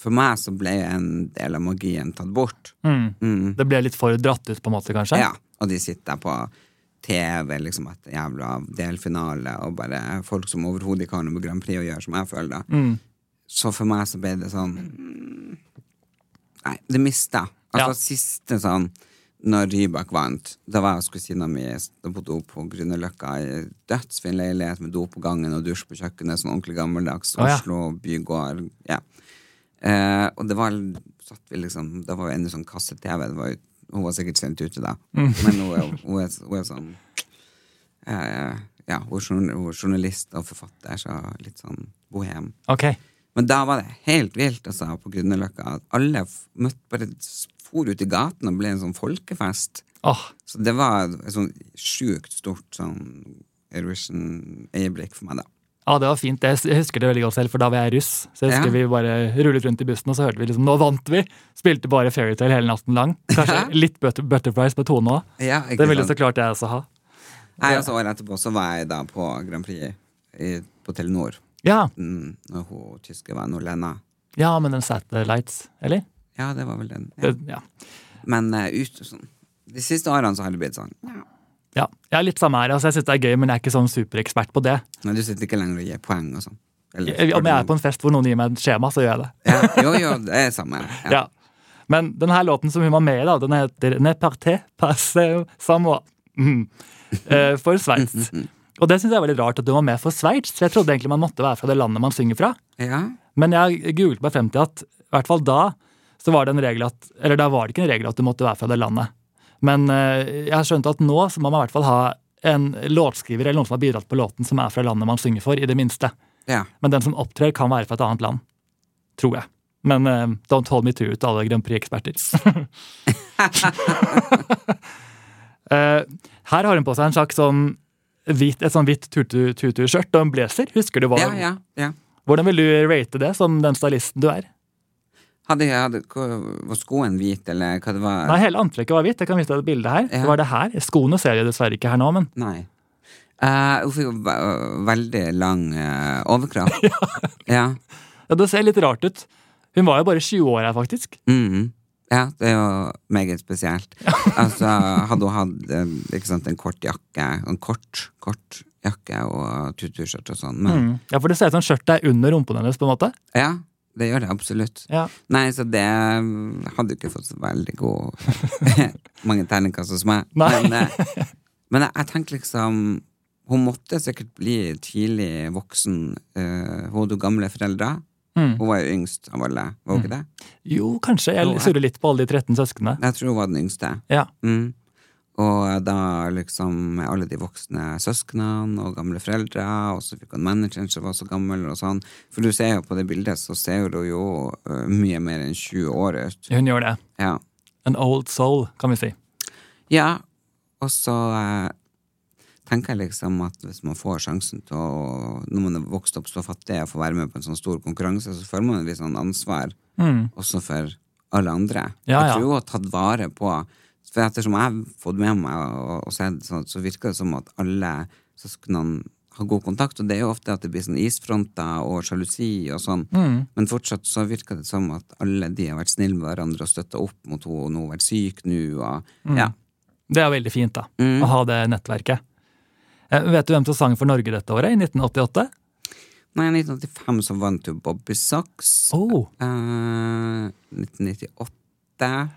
Speaker 2: for meg så ble en del av magien tatt bort.
Speaker 1: Mm.
Speaker 2: Mm.
Speaker 1: Det ble litt for dratt ut, på en måte, kanskje?
Speaker 2: Ja, og de sitter på TV liksom etter jævla delfinale, og bare folk som overhodet ikke har noe med Grand Prix å gjøre, som jeg føler det. Så for meg så ble det sånn mm, Nei, det mista. Altså
Speaker 1: Ja.
Speaker 2: siste sånn når Rybak vant, da var jeg hos kusina mi da bodde hun på Grünerløkka i dødsfin leilighet med do på gangen og dusj på kjøkkenet, sånn ordentlig gammeldags
Speaker 1: Å, ja.
Speaker 2: Oslo bygård. Ja. Eh, og det var satt vi liksom Da var vi ennå sånn kasse-TV. det var jo- Hun var sikkert sent ute da.
Speaker 1: Mm.
Speaker 2: Men hun er, hun er, hun er sånn eh, Ja, hun er journa- hun er journalist og forfatter, så litt sånn bohem.
Speaker 1: Ok.
Speaker 2: Men da var det helt vilt altså, på Grünerløkka. at Alle f- møtte, bare s- for ut i gaten og ble en sånn folkefest.
Speaker 1: Åh,
Speaker 2: Så det var et sånn sjukt stort sånn Eurovision-øyeblikk for meg, da.
Speaker 1: ja, det var fint. Jeg s- Jeg husker det veldig godt selv, for da var jeg russ. Så jeg husker
Speaker 2: Ja.
Speaker 1: vi bare rullet rundt i bussen, og så hørte vi liksom Nå vant vi! Spilte bare Fairytale hele natten lang. Kanskje litt butter Butterflies på tone òg.
Speaker 2: Ja, ikke
Speaker 1: Det ville
Speaker 2: sant?
Speaker 1: så klart jeg også ha.
Speaker 2: Nei, altså, året etterpå så var jeg da på Grand Prix i, på Telenor.
Speaker 1: Ja,
Speaker 2: Mm, og hun tyske vennen hun Lena.
Speaker 1: ja men den Satellites, eller?
Speaker 2: Ja, det var vel den. Ja.
Speaker 1: Det, ja.
Speaker 2: Men eh, ut, sånn. de siste årene så har det blitt sånn.
Speaker 1: Ja, jeg er litt samme her. altså Jeg syns det er gøy, men jeg er ikke sånn superekspert på det.
Speaker 2: Men du sitter ikke lenger og gir poeng og sånn. Eller-
Speaker 1: Jeg, om jeg er på en fest hvor noen gir meg et skjema, så gjør jeg det.
Speaker 2: ja, Jo, jo, det er samme. Ja.
Speaker 1: Ja. Men denne låten som hun var med i, da, den heter Ne parte passe samoa. Mm. Eh, For Sveits. Og det syns jeg er veldig rart at hun var med for Sveits. for Jeg trodde egentlig man måtte være fra det landet man synger fra.
Speaker 2: ja.
Speaker 1: Men jeg googlet meg frem til at i hvert fall da så var det en regel at Eller da var det ikke en regel at du måtte være fra det landet. Men eh, jeg har skjønt at nå så må man i hvert fall ha en låtskriver eller noen som har bidratt på låten som er fra landet man synger for, i det minste.
Speaker 2: ja.
Speaker 1: Men den som opptrer, kan være fra et annet land. Tror jeg. Men eh, don't hold me to it, alle Grand Prix-eksperter. Eh, her har hun på seg en slags sånn hvit, et sånn hvitt tutu- tutu-skjørt og en blazer. Husker du hva?
Speaker 2: ja, ja, ja.
Speaker 1: Hvordan vil du rate det som den stylisten du er?
Speaker 2: Hadde, hadde, var skoen hvit, eller hva det var?
Speaker 1: Nei, hele antrekket var hvitt. Jeg kan vise deg et bilde her.
Speaker 2: Ja.
Speaker 1: Det var det her. Skoene ser jeg dessverre ikke her nå, men
Speaker 2: Nei. Eh, hun fikk jo ve veldig lang eh, overkropp. ja.
Speaker 1: ja, det ser litt rart ut. Hun var jo bare 20 år her, faktisk.
Speaker 2: Mhm. ja, det er jo meget spesielt. altså, hadde hun hatt eh, ikke sant, en kort jakke, en kort, kort jakke og tutu-skjørt og sånn, men
Speaker 1: Mm. Ja, For det ser ut som skjørtet er under rumpen hennes, på en måte.
Speaker 2: ja, det gjør det absolutt.
Speaker 1: Ja.
Speaker 2: Nei, så det mm, hadde jo ikke fått så veldig god Mange terningkast hos meg.
Speaker 1: Nei.
Speaker 2: Men, eh, men jeg, jeg tenker liksom Hun måtte sikkert bli tidlig voksen. eh, hun hadde jo gamle foreldre.
Speaker 1: Mm.
Speaker 2: Hun var jo yngst av alle, var hun ikke det?
Speaker 1: Jo, kanskje. Jeg surrer litt på alle de 13 søsknene.
Speaker 2: Jeg tror hun var den yngste.
Speaker 1: Ja.
Speaker 2: Mm. Og da liksom med alle de voksne søsknene og gamle foreldre, og så fikk hun manageren som var så gammel og sånn. For du ser jo på det bildet, så ser hun jo eh, mye mer enn 20 år ut.
Speaker 1: Hun gjør det.
Speaker 2: Ja.
Speaker 1: An old soul, kan vi si.
Speaker 2: Ja, og så eh, tenker jeg liksom at hvis man får sjansen til å, når man er vokst opp så fattig, å få være med på en sånn stor konkurranse, så føler man et visst sånn ansvar
Speaker 1: Mm.
Speaker 2: også for alle andre.
Speaker 1: Ja, ja.
Speaker 2: Jeg tror hun har tatt vare på For ettersom jeg har fått med meg og, og sett, så, så virker det som at alle søsknene har god kontakt, og det er jo ofte at det blir sånn isfronter og sjalusi og sånn,
Speaker 1: Mm.
Speaker 2: men fortsatt så virker det som at alle de har vært snille med hverandre og støtta opp mot henne, og nå har vært syk nå, og
Speaker 1: Mm.
Speaker 2: ja. Mm.
Speaker 1: Det er veldig fint, da. Å ha det nettverket. Eh, Vet du hvem som sang for Norge dette året, i 1988?
Speaker 2: Nei, 1985 så vant jo Bobby Socks.
Speaker 1: Oh.
Speaker 2: Eh, 1998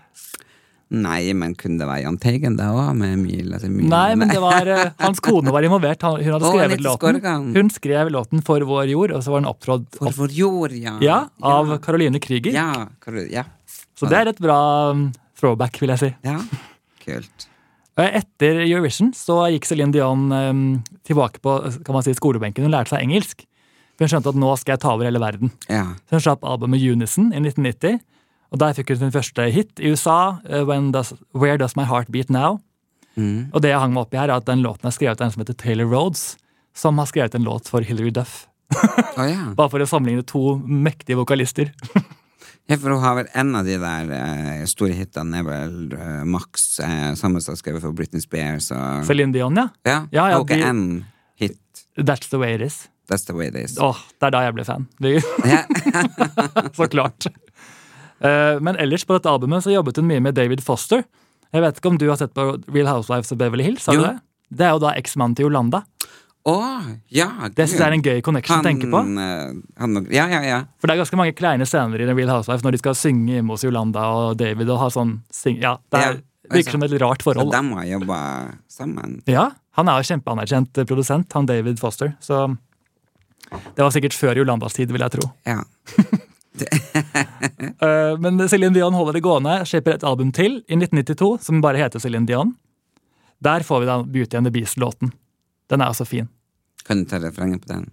Speaker 2: Nei, men kunne det være Jahn Teigen da òg, med Mila til Mila?
Speaker 1: Nei, men det var eh, hans kone var involvert. Han- Hun hadde
Speaker 2: Å,
Speaker 1: skrevet
Speaker 2: Anette
Speaker 1: låten.
Speaker 2: Skorgan.
Speaker 1: Hun skrev låten For vår jord, og så var den opptrådt
Speaker 2: For
Speaker 1: opp,
Speaker 2: vår jord, ja.
Speaker 1: ja, av Caroline Krüger.
Speaker 2: Ja, hva du- ja.
Speaker 1: Så det er et bra mm, throwback, vil jeg si.
Speaker 2: ja. Kult.
Speaker 1: Eh, Etter Eurovision så gikk Céline Dion eh, tilbake på kan man si, skolebenken. Hun lærte seg engelsk. Hun skjønte at nå skal jeg ta over hele verden.
Speaker 2: Ja.
Speaker 1: Så hun slapp albumet Unison i 1990, og der fikk hun sin første hit i USA, eh, When does, Where Does My Heart Beat Now?
Speaker 2: Mm.
Speaker 1: Og det jeg hang meg opp i her, er at den låten er skrevet av en som heter Taylor Rhodes, som har skrevet en låt for Hilary Duff.
Speaker 2: Å ja.
Speaker 1: Bare for å sammenligne to mektige vokalister.
Speaker 2: ja. For hun har vel en av de der eh, store hitene, er vel eh, Max, eh, samme som skrevet for Britney Spears og
Speaker 1: Celine Dion, ja.
Speaker 2: Ja,
Speaker 1: Ja, ja,
Speaker 2: og ikke
Speaker 1: de-
Speaker 2: en hit.
Speaker 1: That's the way it is.
Speaker 2: That's the way it is.
Speaker 1: Åh, det er da jeg ble fan.
Speaker 2: Ja.
Speaker 1: så klart. Eh, Men ellers på dette albumet så jobbet hun mye med David Foster. Jeg vet ikke om du har sett på Real Housewives of Beverly Hills? Har du
Speaker 2: Jo.
Speaker 1: det? Det er jo da eksmannen til Yolanda.
Speaker 2: Å, ja,
Speaker 1: Det synes jeg er en gøy connection å tenke på.
Speaker 2: eh, Han, og- ja, ja, ja.
Speaker 1: For det er ganske mange kleine scener i The Real Housewives når de skal synge hjemme hos Yolanda og David og ha sånn syng... Ja, det er,
Speaker 2: Ja, altså.
Speaker 1: virker som et rart
Speaker 2: Så
Speaker 1: forhold. da.
Speaker 2: de har jobba sammen.
Speaker 1: Ja, han er jo kjempeanerkjent eh, produsent, han David Foster, så det var sikkert før Yolandas tid, vil jeg tro.
Speaker 2: Ja.
Speaker 1: Eh, Men Céline Dion holder det gående, slipper et album til i 1992 som bare heter Céline Dion. Der får vi da Beauty and the Beast-låten. Den er også fin.
Speaker 2: Kan du ta refrenget på den?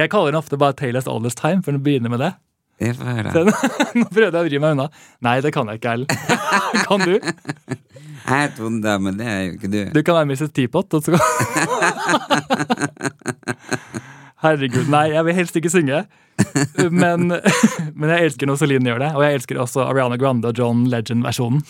Speaker 1: Jeg kaller den ofte bare Taylor's Oldest Time, for den begynner med det.
Speaker 2: Jeg får høre.
Speaker 1: Nå prøvde jeg å vri meg unna. Nei, det kan jeg ikke, Erlend. Kan du?
Speaker 2: Jeg er et onde, men det er jo ikke du.
Speaker 1: Du kan være Mrs. Teapot. Og så... Herregud, nei, jeg vil helst ikke synge. Men, men jeg elsker når Celine gjør det, og jeg elsker også Ariana Grande og John Legend-versjonen.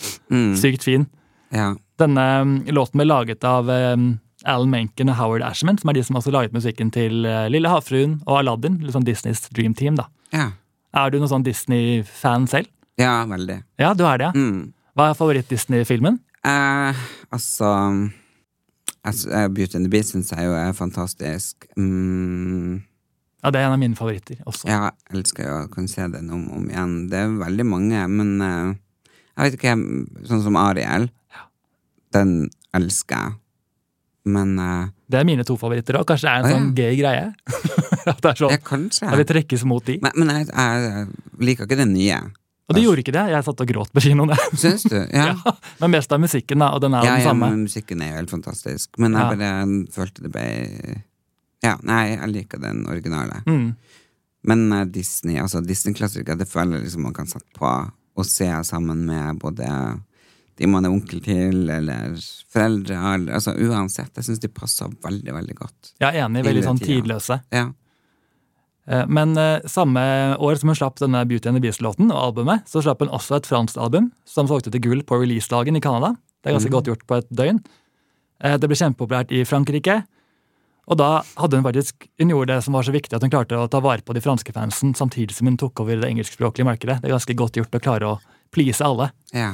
Speaker 1: Sykt fin.
Speaker 2: Mm. Ja.
Speaker 1: Denne um, låten ble laget av um, Alan Menken og Howard Ashman, som er de som også laget musikken til uh, Lille havfruen og Aladdin. Litt sånn Disneys Dream liksom Team, da.
Speaker 2: ja.
Speaker 1: Er du noen sånn Disney-fan selv?
Speaker 2: Ja, veldig.
Speaker 1: Ja, du er det. ja.
Speaker 2: Mm.
Speaker 1: Hva er favoritt-Disney-filmen?
Speaker 2: Eh, altså altså, eh, Beauty and the Beast syns jeg jo er fantastisk. Mm,
Speaker 1: Ja, Det er en av mine favoritter også.
Speaker 2: ja, jeg elsker jo å kunne se den om og om igjen. Det er veldig mange, men eh, jeg vet ikke hvem Sånn som Ariel. Den elsker jeg. Men eh,
Speaker 1: Det er mine to favoritter òg. Kanskje det er en
Speaker 2: Å, ja.
Speaker 1: sånn gøy greie? At det er sånn,
Speaker 2: ja, kanskje.
Speaker 1: at vi trekkes mot de.
Speaker 2: Men, men jeg, jeg liker ikke den nye.
Speaker 1: Og det gjorde ikke det. Jeg satt og gråt på kinoen. jeg.
Speaker 2: Syns du? Ja.
Speaker 1: Ja, Men mest av musikken, da. Og den er jo
Speaker 2: ja,
Speaker 1: den
Speaker 2: ja,
Speaker 1: samme.
Speaker 2: men musikken er jo helt fantastisk. Men jeg
Speaker 1: Ja.
Speaker 2: bare følte det ble Ja, nei, jeg liker den originale.
Speaker 1: Mm.
Speaker 2: Men eh, Disney, altså Disney-klassiker, det føler jeg liksom man kan sette på og se sammen med både de man er onkel til, eller foreldre, eller altså uansett. Jeg syns de passer veldig, veldig godt.
Speaker 1: Jeg er enig. Veldig
Speaker 2: Hele
Speaker 1: sånn
Speaker 2: tida.
Speaker 1: tidløse.
Speaker 2: Ja.
Speaker 1: Eh, Men eh, samme år som hun slapp denne Beauty and the Beast-låten og albumet, så slapp hun også et fransk album som solgte til gull på releasedagen i Canada. Det er ganske godt gjort på et døgn. Eh, Det ble kjempepopulært i Frankrike. Og da hadde hun faktisk, hun gjorde det som var så viktig at hun klarte å ta vare på de franske fansen samtidig som hun tok over det engelskspråklige markedet. Det er ganske godt gjort å klare å please alle.
Speaker 2: ja.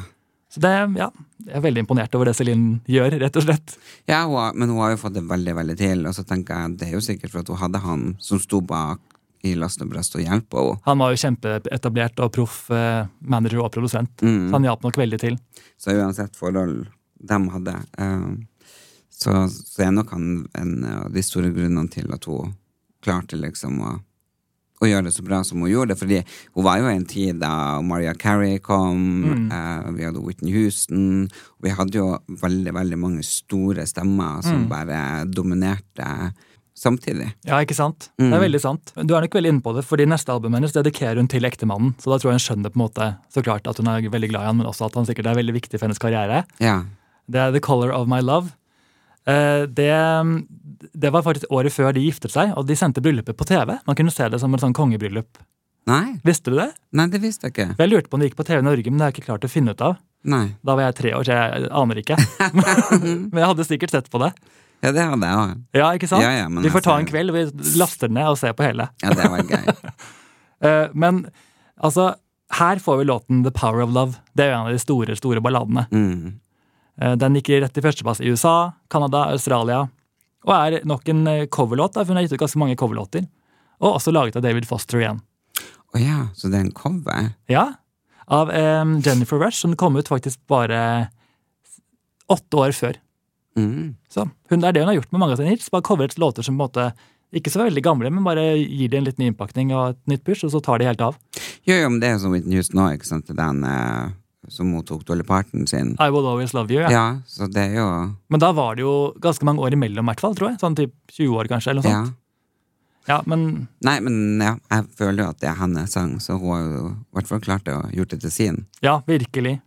Speaker 1: Så det, ja, jeg er veldig imponert over det Celine gjør, rett og slett.
Speaker 2: Ja, hun har, men hun har jo fått det veldig veldig til. Og så tenker jeg det er jo sikkert for at hun hadde han som sto bak i Last og Brast og hjalp henne.
Speaker 1: Han var jo kjempeetablert og proff eh, manager og produsent. Så
Speaker 2: Mm.
Speaker 1: han hjalp nok veldig til.
Speaker 2: Mm-hmm. Så uansett forhold de hadde, eh, så, så er nok han en av de store grunnene til at hun klarte liksom å, å gjøre det så bra som hun gjorde. Fordi hun var jo i en tid da Maria Carey
Speaker 1: Mm.
Speaker 2: kom, eh, vi hadde Whitney Houston og Vi hadde jo veldig, veldig mange store
Speaker 1: Mm.
Speaker 2: stemmer som bare dominerte samtidig.
Speaker 1: Ja, ikke sant? Det
Speaker 2: Mm.
Speaker 1: er veldig sant. Du er nok veldig inne på det, fordi neste albumet hennes dedikerer hun til ektemannen. Så da tror jeg hun skjønner på en måte så klart at hun er veldig glad i han, men også at han sikkert er veldig viktig for hennes karriere.
Speaker 2: Ja.
Speaker 1: Det er The Color of My Love. Eh, Det, det var faktisk året før de giftet seg, og de sendte bryllupet på TV. Man kunne se det som et sånn kongebryllup.
Speaker 2: Nei,
Speaker 1: Visste du det?
Speaker 2: nei, det visste jeg ikke.
Speaker 1: For Jeg lurte på om det gikk på TV Norge, men det har jeg ikke klart å finne ut av.
Speaker 2: Nei.
Speaker 1: Da var jeg tre år, så jeg aner ikke. Men jeg hadde sikkert sett på det.
Speaker 2: Ja, det hadde jeg òg.
Speaker 1: Ja, ikke sant?
Speaker 2: Ja, ja, men
Speaker 1: vi får
Speaker 2: altså-
Speaker 1: ta en kveld, vi laster den ned og ser på hele.
Speaker 2: Ja, det var gøy.
Speaker 1: Eh, Men altså, her får vi låten The Power of Love. Det er jo en av de store store balladene.
Speaker 2: Mm.
Speaker 1: Eh, Den gikk rett til førsteplass i USA, Canada, Australia. Og er nok en eh, coverlåt, da, for hun har gitt ut ganske mange coverlåter. Og også laget av David Foster igjen.
Speaker 2: Å ja, så det er en cover?
Speaker 1: Ja, Av eh, Jennifer Rush, som kom ut faktisk bare åtte år før.
Speaker 2: Mm.
Speaker 1: Så hun, Det er det hun har gjort med mange av sine hits. Bare covret låter som på en måte ikke så veldig gamle, men bare gir de en liten innpakning og et nytt push, og så tar de helt av.
Speaker 2: Jo, jo, men det er jo som Whitney Houston òg, ikke sant? Den eh, som mottok Dolly Parton sin.
Speaker 1: I Will Always Love You.
Speaker 2: Ja.
Speaker 1: Ah, Ja.
Speaker 2: så det er jo
Speaker 1: Men da var det jo ganske mange år imellom, i hvert fall, tror jeg. Sånn typ 20 år, kanskje. eller noe
Speaker 2: Ja.
Speaker 1: sånt. Ja, men
Speaker 2: Nei, men ja, jeg føler jo at det er hennes sang, så hun har jo i hvert fall klart å gjort det til sin.
Speaker 1: ja, virkelig.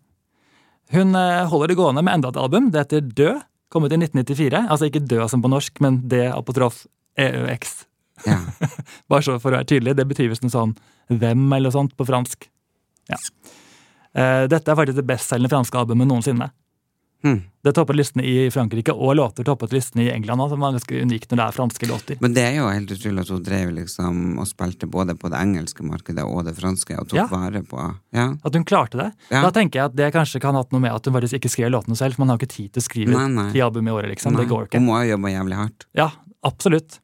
Speaker 1: Hun eh, holder det gående med enda et album. Det heter Død. Kom ut i 1994. Altså ikke Død som på norsk, men D apotrof EØX.
Speaker 2: Ja.
Speaker 1: Bare så for å være tydelig, det betyr visst noe sånn hvem eller noe sånt på fransk. Ja. Eh, Dette er faktisk det bestselgende franske albumet noensinne.
Speaker 2: Hm.
Speaker 1: Det toppet listene i Frankrike, og låter toppet listene i England. også, Som var ganske unikt når det er franske låter.
Speaker 2: Men det er jo helt utrolig at hun drev liksom og spilte både på det engelske markedet og det franske, og tok
Speaker 1: Ja.
Speaker 2: vare på Ja.
Speaker 1: At hun klarte det.
Speaker 2: Ja.
Speaker 1: Da tenker jeg at det kanskje kan ha hatt noe med at hun faktisk ikke skrev låtene selv. for Man har ikke tid til å skrive
Speaker 2: Nei, nei.
Speaker 1: ti album i året, liksom.
Speaker 2: Nei,
Speaker 1: Det går ikke.
Speaker 2: Hun må jo jobbe jævlig hardt.
Speaker 1: Ja, absolutt.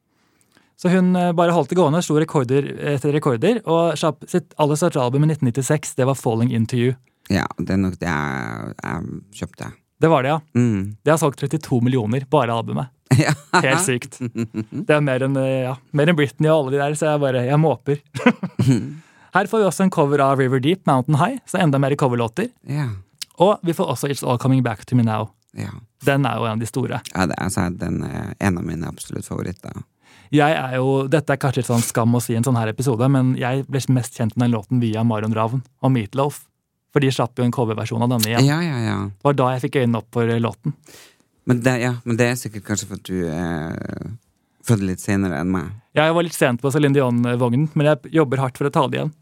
Speaker 1: Så hun eh, bare holdt det gående, slo rekorder etter rekorder, og slapp sitt aller største album i 1996. Det var 'Falling Into You'.
Speaker 2: Ja, det er nok det jeg, jeg kjøpte.
Speaker 1: Det var det, ja.
Speaker 2: Mm.
Speaker 1: Det har solgt 32 millioner, bare albumet.
Speaker 2: Ja.
Speaker 1: Helt sykt. Det er mer enn, eh, ja, mer enn Britney og alle de der, så jeg bare jeg måper. Her får vi også en cover av River Deep, Mountain High, så enda mer coverlåter.
Speaker 2: Ja.
Speaker 1: Og vi får også It's All Coming Back To Me Now.
Speaker 2: ja.
Speaker 1: Den er jo en av de store.
Speaker 2: Ja, det, altså, den er en av mine absolutt favoritter.
Speaker 1: Jeg er jo, Dette er kanskje litt sånn skam å si i en sånn her episode, men jeg ble mest kjent med den låten via Marion Ravn og Meatloaf. For de slapp jo en coverversjon av denne igjen.
Speaker 2: Ja, ja, ja.
Speaker 1: Det var da jeg fikk øynene opp for eh, låten.
Speaker 2: Men det, ja, men det er sikkert kanskje for at du er født litt senere enn meg.
Speaker 1: Jeg var litt sent på Céline Dion-vognen, men jeg jobber hardt for å ta det igjen.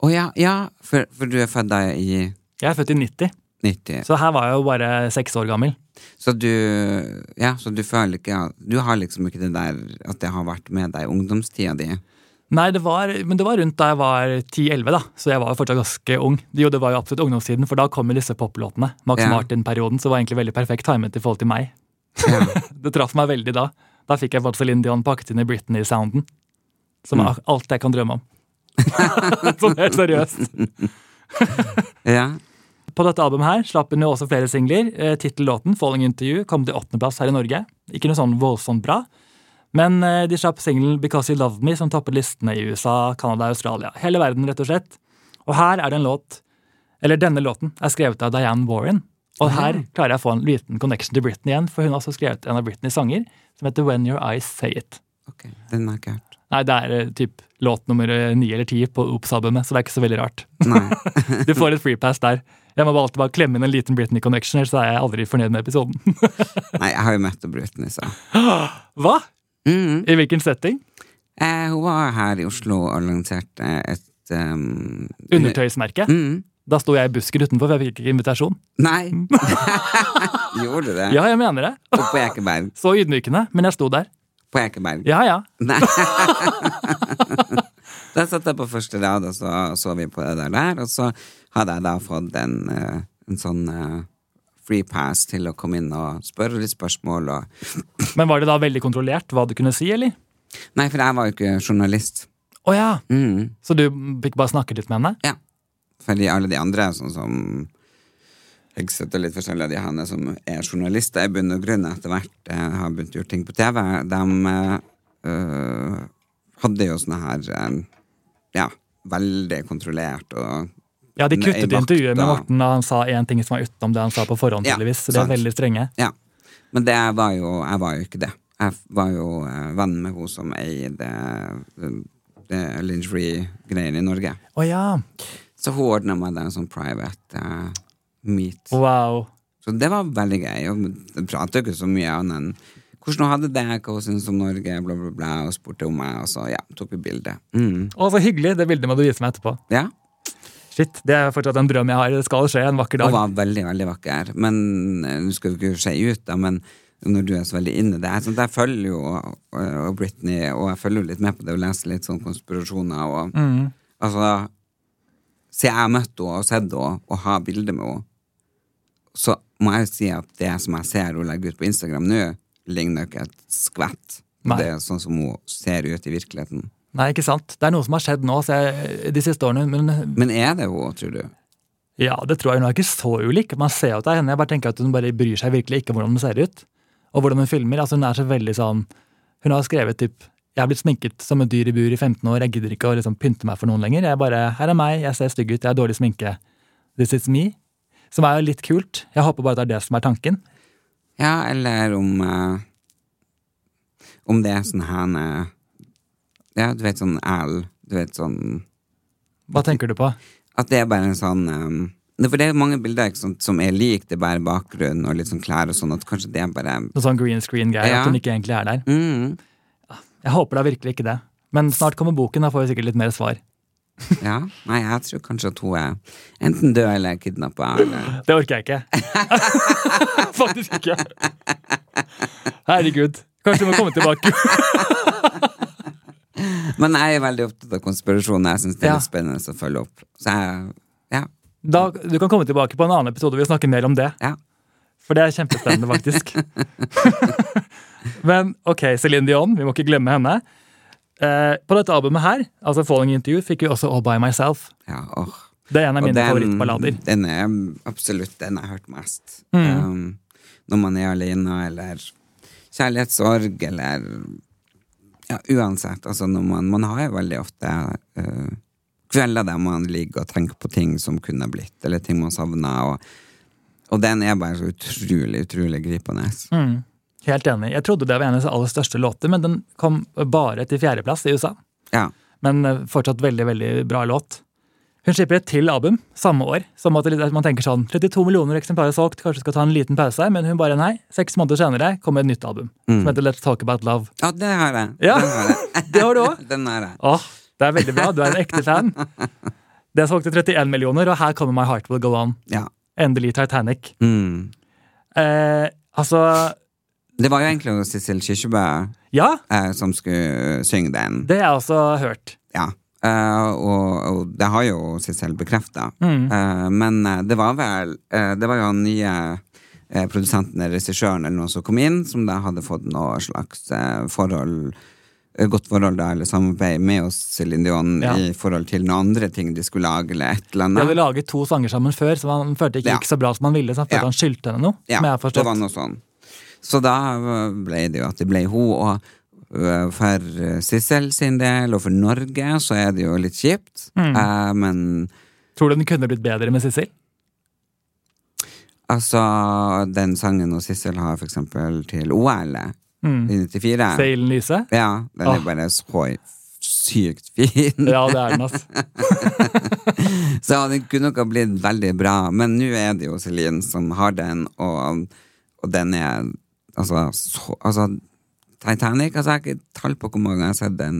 Speaker 2: Å ja, ja for, for du er født da i
Speaker 1: Jeg er født i 90,
Speaker 2: 90.
Speaker 1: så her var jeg jo bare seks år gammel.
Speaker 2: Så du Ja, så du føler ikke at- Du har liksom ikke det der at det har vært med deg i ungdomstida di.
Speaker 1: Nei, det var, men det var rundt da jeg var 10-11, da, så jeg var jo fortsatt ganske ung. Jo, det var jo absolutt ungdomstiden, for da kom jo disse poplåtene. Max
Speaker 2: Ja.
Speaker 1: Martin-perioden, så var egentlig veldig perfekt timet i forhold til meg.
Speaker 2: Ja.
Speaker 1: Det traff meg veldig da. Da fikk jeg faktisk Celine Dion pakket inn i Britney-sounden. Som er alt jeg kan drømme om. sånn helt seriøst.
Speaker 2: ja.
Speaker 1: På dette albumet her slapp hun jo også flere singler. Eh, Tittellåten 'Falling Interview' kom til åttendeplass her i Norge. Ikke noe sånn voldsomt bra. Men eh, de slapp singelen 'Because You Loved Me', som toppet listene i USA, Canada og Australia. Hele verden, rett og slett. Og her er det en låt Eller denne låten er skrevet av Diane Warren. Og her klarer jeg å få en liten connection til Britney igjen, for hun har også skrevet en av Britneys sanger som heter 'When Your Eyes Say It'.
Speaker 2: Ok, den har jeg ikke hørt.
Speaker 1: Nei, det er eh, typ låt nummer eh, ni eller ti på Ops-albumet, så det er ikke så veldig rart.
Speaker 2: Nei.
Speaker 1: Du får et free pass der. Jeg må bare alltid bare klemme inn en liten Britney connection, ellers er jeg aldri fornøyd med episoden.
Speaker 2: Nei, jeg har jo møtt Britney, så.
Speaker 1: Hva?
Speaker 2: Mhm.
Speaker 1: I hvilken setting?
Speaker 2: Eh, hun var her i Oslo og lanserte et um,
Speaker 1: Undertøysmerke.
Speaker 2: Mhm.
Speaker 1: Da sto jeg i busken utenfor, for jeg fikk ikke invitasjon.
Speaker 2: Nei! Gjorde du det?
Speaker 1: Ja, jeg mener det.
Speaker 2: Og på Ekeberg.
Speaker 1: Så ydmykende, men jeg sto der.
Speaker 2: På Ekeberg.
Speaker 1: Ja, ja.
Speaker 2: Nei. da satt jeg på første rad, og så så vi på det der, der og så hadde jeg da fått en, eh, en sånn eh, free pass til å komme inn og spørre litt spørsmål og
Speaker 1: Men var det da veldig kontrollert hva du kunne si, eller?
Speaker 2: Nei, for jeg var jo ikke journalist.
Speaker 1: Å ja,
Speaker 2: Mm.
Speaker 1: så du fikk bare snakke litt med henne?
Speaker 2: Ja. Fordi alle de andre, sånn som Hegseth og litt forskjellige av de henne som er journalister i bunn og grunn etter hvert eh, har begynt å gjøre ting på TV, de eh, øh, hadde jo sånne her eh, Ja, veldig kontrollert og
Speaker 1: Ja, de kuttet
Speaker 2: Nei, vakt,
Speaker 1: intervjuet med
Speaker 2: da.
Speaker 1: Morten da han sa én ting som var utenom det han sa på forhånd,
Speaker 2: Ja,
Speaker 1: tydeligvis. Så de er
Speaker 2: sant.
Speaker 1: veldig strenge.
Speaker 2: Ja. Men det var jo, jeg var jo ikke det. Jeg var jo eh, venn med hun som eier det, det, det lingerie-greiene i Norge.
Speaker 1: Å ja.
Speaker 2: Så hun ordna meg da en sånn private eh, meet.
Speaker 1: Wow.
Speaker 2: Så det var veldig gøy. Og jeg prater jo ikke så mye annet enn hvordan hun hadde det, hva hun syntes om Norge, bla, bla, bla, og spurte om meg, og så ja, tok vi bilde. Mm.
Speaker 1: Å, så hyggelig. Det bildet må du vise meg etterpå.
Speaker 2: Ja.
Speaker 1: Shit, Det er fortsatt en drøm jeg har. Det skal skje en vakker
Speaker 2: Hun
Speaker 1: dag.
Speaker 2: var veldig, veldig vakker. Men eh, nå skal du ikke se ut, da, men når du er så veldig inne i det Jeg, sånn, jeg følger jo eh, og Britney, og jeg følger jo litt med på det og leser litt sånn konspirasjoner og
Speaker 1: Mm.
Speaker 2: Altså, så jeg har møtt henne og sett henne og har bilder med henne, så må jeg jo si at det som jeg ser hun legger ut på Instagram nå, ligner ikke et skvett.
Speaker 1: Nei.
Speaker 2: Det er sånn som hun ser ut i virkeligheten.
Speaker 1: Nei, ikke sant? Det er noe som har skjedd nå så jeg, de siste årene. Men
Speaker 2: Men er det hun, tror du?
Speaker 1: ja, det tror jeg hun er ikke så ulik. Man ser jo at det er henne. Jeg bare tenker at hun bare bryr seg virkelig ikke om hvordan hun ser ut. Og hvordan hun filmer. Altså, hun er så veldig sånn Hun har skrevet typ Jeg har blitt sminket som et dyr i bur i 15 år. Jeg gidder ikke å liksom pynte meg for noen lenger. Jeg bare Her er meg. Jeg ser stygg ut. Jeg har dårlig sminke. This is me. Som er jo litt kult. Jeg håper bare at det er det som er tanken.
Speaker 2: Ja, eller om eh, Om det er sånn her eh, Ja, du vet sånn L Du vet sånn
Speaker 1: Hva tenker du på?
Speaker 2: At det er bare en sånn eh, det- For det er mange bilder ikke sant, som er like, det er bare bakgrunn og litt sånn klær og sånn, at kanskje det er bare
Speaker 1: Noe sånn green screen-greier.
Speaker 2: Ja.
Speaker 1: At hun ikke egentlig er der.
Speaker 2: mm,
Speaker 1: Jeg håper da virkelig ikke det. Men snart kommer boken, da får vi sikkert litt mer svar.
Speaker 2: Ja. Nei, jeg tror kanskje at hun er enten død eller kidnappa eller
Speaker 1: Det orker jeg ikke. Faktisk ikke. Herregud. Kanskje du må komme tilbake.
Speaker 2: Men jeg er veldig opptatt av konspirasjoner. Jeg syns det er
Speaker 1: Ja.
Speaker 2: litt spennende å følge opp. Så jeg Ja.
Speaker 1: Da, du kan komme tilbake på en annen episode hvor vi snakker mer om det.
Speaker 2: ja.
Speaker 1: For det er kjempespennende, faktisk. Men ok, Céline Dion, vi må ikke glemme henne. Eh, på dette albumet her, altså Falling Interview, fikk vi også All By Myself.
Speaker 2: ja åh.
Speaker 1: Det er en av mine
Speaker 2: Og den-
Speaker 1: favorittballader. Mm.
Speaker 2: Den er absolutt den jeg har hørt mest. Um, når man er alene, eller kjærlighetssorg, eller Ja, uansett. Altså når man, man har jo veldig ofte eh, kvelder der man ligger og tenker på ting som kunne blitt, eller ting man savner, og, og den er bare så utrolig, utrolig gripende.
Speaker 1: Mm. Helt enig. Jeg trodde det var en av hennes aller største låter, men den kom bare til fjerdeplass i USA.
Speaker 2: Ja.
Speaker 1: men eh, fortsatt veldig, veldig bra låt. Hun slipper et til album samme år, som at det- at man tenker sånn 32 millioner eksemplarer solgt, kanskje skal ta en liten pause, men hun bare nei. Seks måneder senere kommer et nytt album som heter Let's Talk About Love.
Speaker 2: Mm. Ja, det har jeg.
Speaker 1: Ja,
Speaker 2: Den har jeg.
Speaker 1: det har du òg!
Speaker 2: Den har jeg.
Speaker 1: Åh, det er veldig bra, du er en ekte fan. Det solgte 31 millioner, og her kommer My Heart Will Go On.
Speaker 2: Ja.
Speaker 1: Endelig Titanic.
Speaker 2: Mm.
Speaker 1: Eh, altså
Speaker 2: Det var jo egentlig Sissel Kyrkjebø
Speaker 1: Ja,
Speaker 2: eh, som skulle synge den.
Speaker 1: det har jeg også hørt.
Speaker 2: Ja. Eh, og, og det har jo Sissel bekrefta.
Speaker 1: Mm.
Speaker 2: Eh, men eh, det var vel eh, Det var jo han nye eh, produsenten eller regissøren eller noen som kom inn, som da hadde fått noe slags eh, forhold eh, Godt forhold da, eller samarbeid med oss, Céline Dion,
Speaker 1: Ja.
Speaker 2: i forhold til noen andre ting de skulle lage, eller et eller
Speaker 1: De
Speaker 2: annet.
Speaker 1: hadde laget to sanger sammen før, så han følte ikke
Speaker 2: Ja.
Speaker 1: gikk så bra som han ville. Så han følte
Speaker 2: Ja.
Speaker 1: han skyldte henne noe.
Speaker 2: Ja,
Speaker 1: som jeg har
Speaker 2: det var
Speaker 1: forstått.
Speaker 2: noe sånn. Så da ble det jo at det ble hun, og øh, for øh, Sissel sin del, og for Norge, så er det jo litt kjipt.
Speaker 1: Mm.
Speaker 2: Eh, men
Speaker 1: Tror du den kunne blitt bedre med Sissel?
Speaker 2: altså, den sangen og Sissel har for eksempel til OL
Speaker 1: Mm.
Speaker 2: i 94,
Speaker 1: Seilen lyse?
Speaker 2: ja, den
Speaker 1: Åh.
Speaker 2: er bare så sykt fin.
Speaker 1: Ja, det er den, ass.
Speaker 2: Så den kunne nok ha blitt veldig bra, men nå er det jo Celine som har den, og, og den er altså, så, altså Titanic altså, Jeg har ikke tall på hvor mange ganger jeg har sett den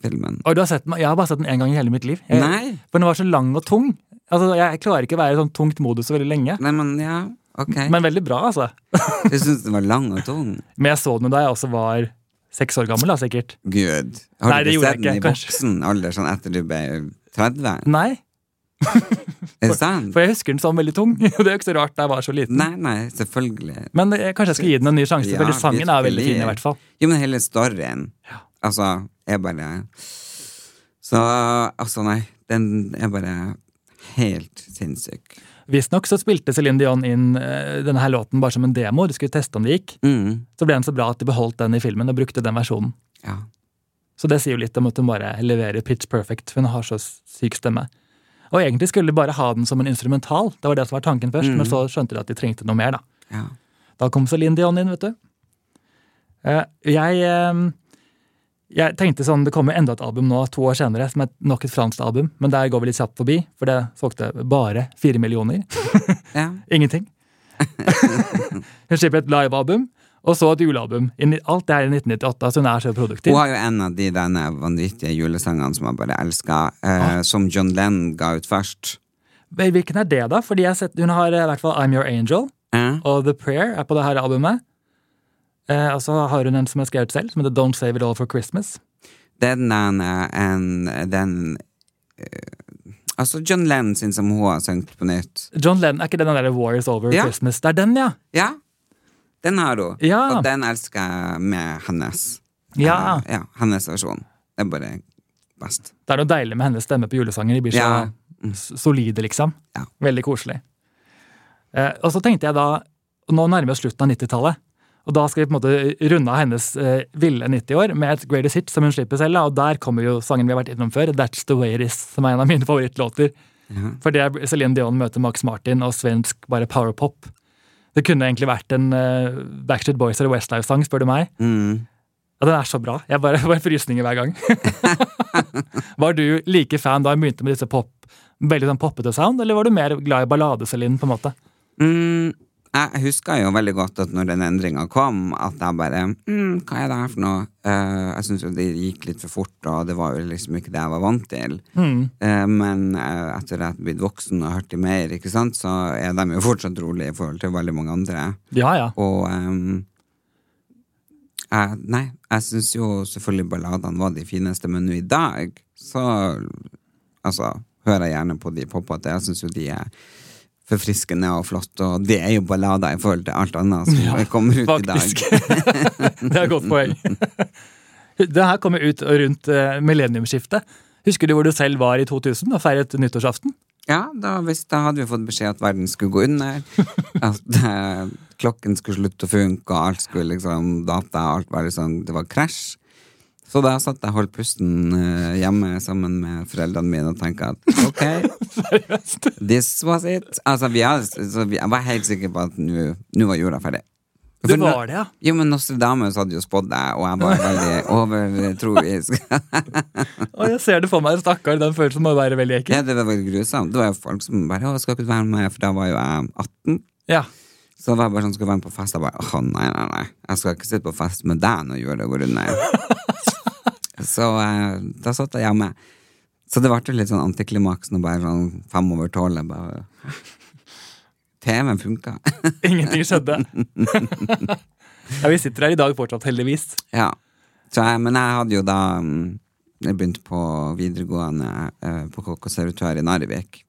Speaker 2: filmen.
Speaker 1: Og du har sett den, Jeg har bare sett den én gang i hele mitt liv. Jeg,
Speaker 2: Nei?
Speaker 1: For den var så lang og tung. Altså, Jeg klarer ikke å være i sånn tungt modus så veldig lenge.
Speaker 2: Nei, men ja, ok.
Speaker 1: Men veldig bra, altså.
Speaker 2: Jeg syns den var lang og tung.
Speaker 1: Men jeg så den jo da jeg også var seks år gammel, da, sikkert.
Speaker 2: Gud.
Speaker 1: Nei,
Speaker 2: Har
Speaker 1: det
Speaker 2: du ikke
Speaker 1: gjorde jeg
Speaker 2: sett den i
Speaker 1: ikke, kanskje.
Speaker 2: voksen alder, sånn etter du ble 30?
Speaker 1: Nei,
Speaker 2: Er det sant?
Speaker 1: for jeg husker den som veldig tung. Og det er jo ikke så rart da jeg var så liten.
Speaker 2: Nei, nei, selvfølgelig.
Speaker 1: Men eh, kanskje jeg skal gi den en ny sjanse,
Speaker 2: Ja,
Speaker 1: fordi sangen er veldig
Speaker 2: virkelig.
Speaker 1: fin i hvert fall.
Speaker 2: Jo, men hele storyen Altså, jeg bare Så altså, nei. Den er bare helt sinnssyk.
Speaker 1: Visstnok så spilte Céline Dion inn eh, denne her låten bare som en demo. De skulle teste om det gikk.
Speaker 2: Mm.
Speaker 1: Så ble den så bra at de beholdt den i filmen og brukte den versjonen.
Speaker 2: Ja.
Speaker 1: Så det sier jo litt om at hun bare leverer pitch perfect, for hun har så syk stemme. Og egentlig skulle de bare ha den som en instrumental, det var det som var tanken først, men så skjønte de at de trengte noe mer, da.
Speaker 2: ja.
Speaker 1: Da kom Celine Dion inn, vet du. Eh, Jeg, eh, jeg tenkte sånn, det kommer enda et album nå, to år senere, som er nok et fransk album, men der går vi litt kjapt forbi, for det solgte bare fire millioner.
Speaker 2: ja.
Speaker 1: Ingenting. Hun slipper et livealbum, og så et julealbum. I ni- Alt det her i 1998, altså hun er så produktiv.
Speaker 2: Hun har jo en av de denne vanvittige julesangene som jeg bare elsker, eh, som John Lennon ga ut først.
Speaker 1: Men Hvilken er det, da? Fordi jeg har sett, Hun har eh, i hvert fall I'm Your Angel
Speaker 2: Eh?
Speaker 1: og The Prayer er på det her albumet. Eh, og så har hun en som er skrevet selv, som heter Don't Save It All for Christmas.
Speaker 2: Det er den ene en, den eh, Altså John Lennon sin som hun har sunget på nytt.
Speaker 1: John Lennon, er ikke det den der War is Over
Speaker 2: Ja.
Speaker 1: Christmas? Det er den, ja!
Speaker 2: Ja, den har hun.
Speaker 1: Ja.
Speaker 2: Og den elsker jeg med hennes.
Speaker 1: Ja.
Speaker 2: Eh, ja hennes versjon. Det er bare best.
Speaker 1: Det er noe deilig med hennes stemme på julesanger. De blir så
Speaker 2: Ja. Mm.
Speaker 1: s- solide, liksom.
Speaker 2: Ja.
Speaker 1: Veldig koselig. Eh, og så tenkte jeg da Nå nærmer vi oss slutten av 90-tallet. Og da skal vi på en måte runde av hennes eh, ville 90 år med et Greatest Hit som hun slipper selv. da, Og der kommer jo sangen vi har vært innom før, That's The Way It Is, som er en av mine favorittlåter.
Speaker 2: Ja.
Speaker 1: For det er Celine Dion møter Max Martin og svensk bare powerpop. Det kunne egentlig vært en eh, Backstreet Boys eller Westlife-sang, spør du meg.
Speaker 2: Mm.
Speaker 1: Ja, den er så bra. Jeg bare får frysninger hver gang. var du like fan da hun begynte med disse pop, veldig sånn poppete sound, eller var du mer glad i balladeselin, på en måte?
Speaker 2: Mm, jeg husker jo veldig godt at når den endringa kom, at jeg bare mm, Hva er det her for noe? Eh, jeg syns jo det gikk litt for fort, og det var jo liksom ikke det jeg var vant til.
Speaker 1: Hmm.
Speaker 2: Eh, men eh, etter at jeg er blitt voksen og hørt de mer, ikke sant, så er de jo fortsatt rolige i forhold til veldig mange andre.
Speaker 1: Ja, ja.
Speaker 2: Og ehm, jeg, Nei, jeg syns jo selvfølgelig balladene var de fineste, men nå i dag, så Altså, hører jeg gjerne på de popete. Jeg syns jo de er forfriskende og flotte, og det er jo ballader i forhold til alt annet som kommer ut
Speaker 1: Faktisk.
Speaker 2: i dag.
Speaker 1: det er et godt poeng. det her kom jo ut rundt eh, millenniumsskiftet. Husker du hvor du selv var i 2000 og feiret nyttårsaften?
Speaker 2: Ja, da, hvis, da hadde vi fått beskjed at verden skulle gå under. At eh, klokken skulle slutte å funke, og alt skulle liksom Data, alt var liksom Det var krasj. Så da satt jeg og holdt pusten eh, hjemme sammen med foreldrene mine og tenkte at ok,
Speaker 1: Seriøst?
Speaker 2: this was it. Altså, vi hadde, så vi, jeg var helt sikker på at nå nå var jorda ferdig.
Speaker 1: Det var det, ja.
Speaker 2: Jo, men Nostradamus hadde jo spådd det, og jeg var veldig overtroisk.
Speaker 1: Og jeg ser det for meg, stakkar. Den følelsen må være veldig ekkel.
Speaker 2: ja, det var veldig grusomt. Det var jo folk som bare 'Å, skal ikke du være med?' For da var jo jeg 18.
Speaker 1: Ja.
Speaker 2: Så var jeg bare sånn, skal jeg være med på fest? Jeg bare, åh nei, nei, nei. Jeg skal ikke sitte på fest med deg når jorda går under. så eh, da satt jeg hjemme. Så det ble jo litt sånn antiklimaks når bare sånn fem over tolv. jeg bare, hæ? TV-en funka.
Speaker 1: Ingenting skjedde. Ja, Vi sitter her i dag fortsatt, heldigvis.
Speaker 2: Ja. Så jeg, men jeg hadde jo da mm, jeg begynte på videregående eh, på kokk og servitør i Narvik.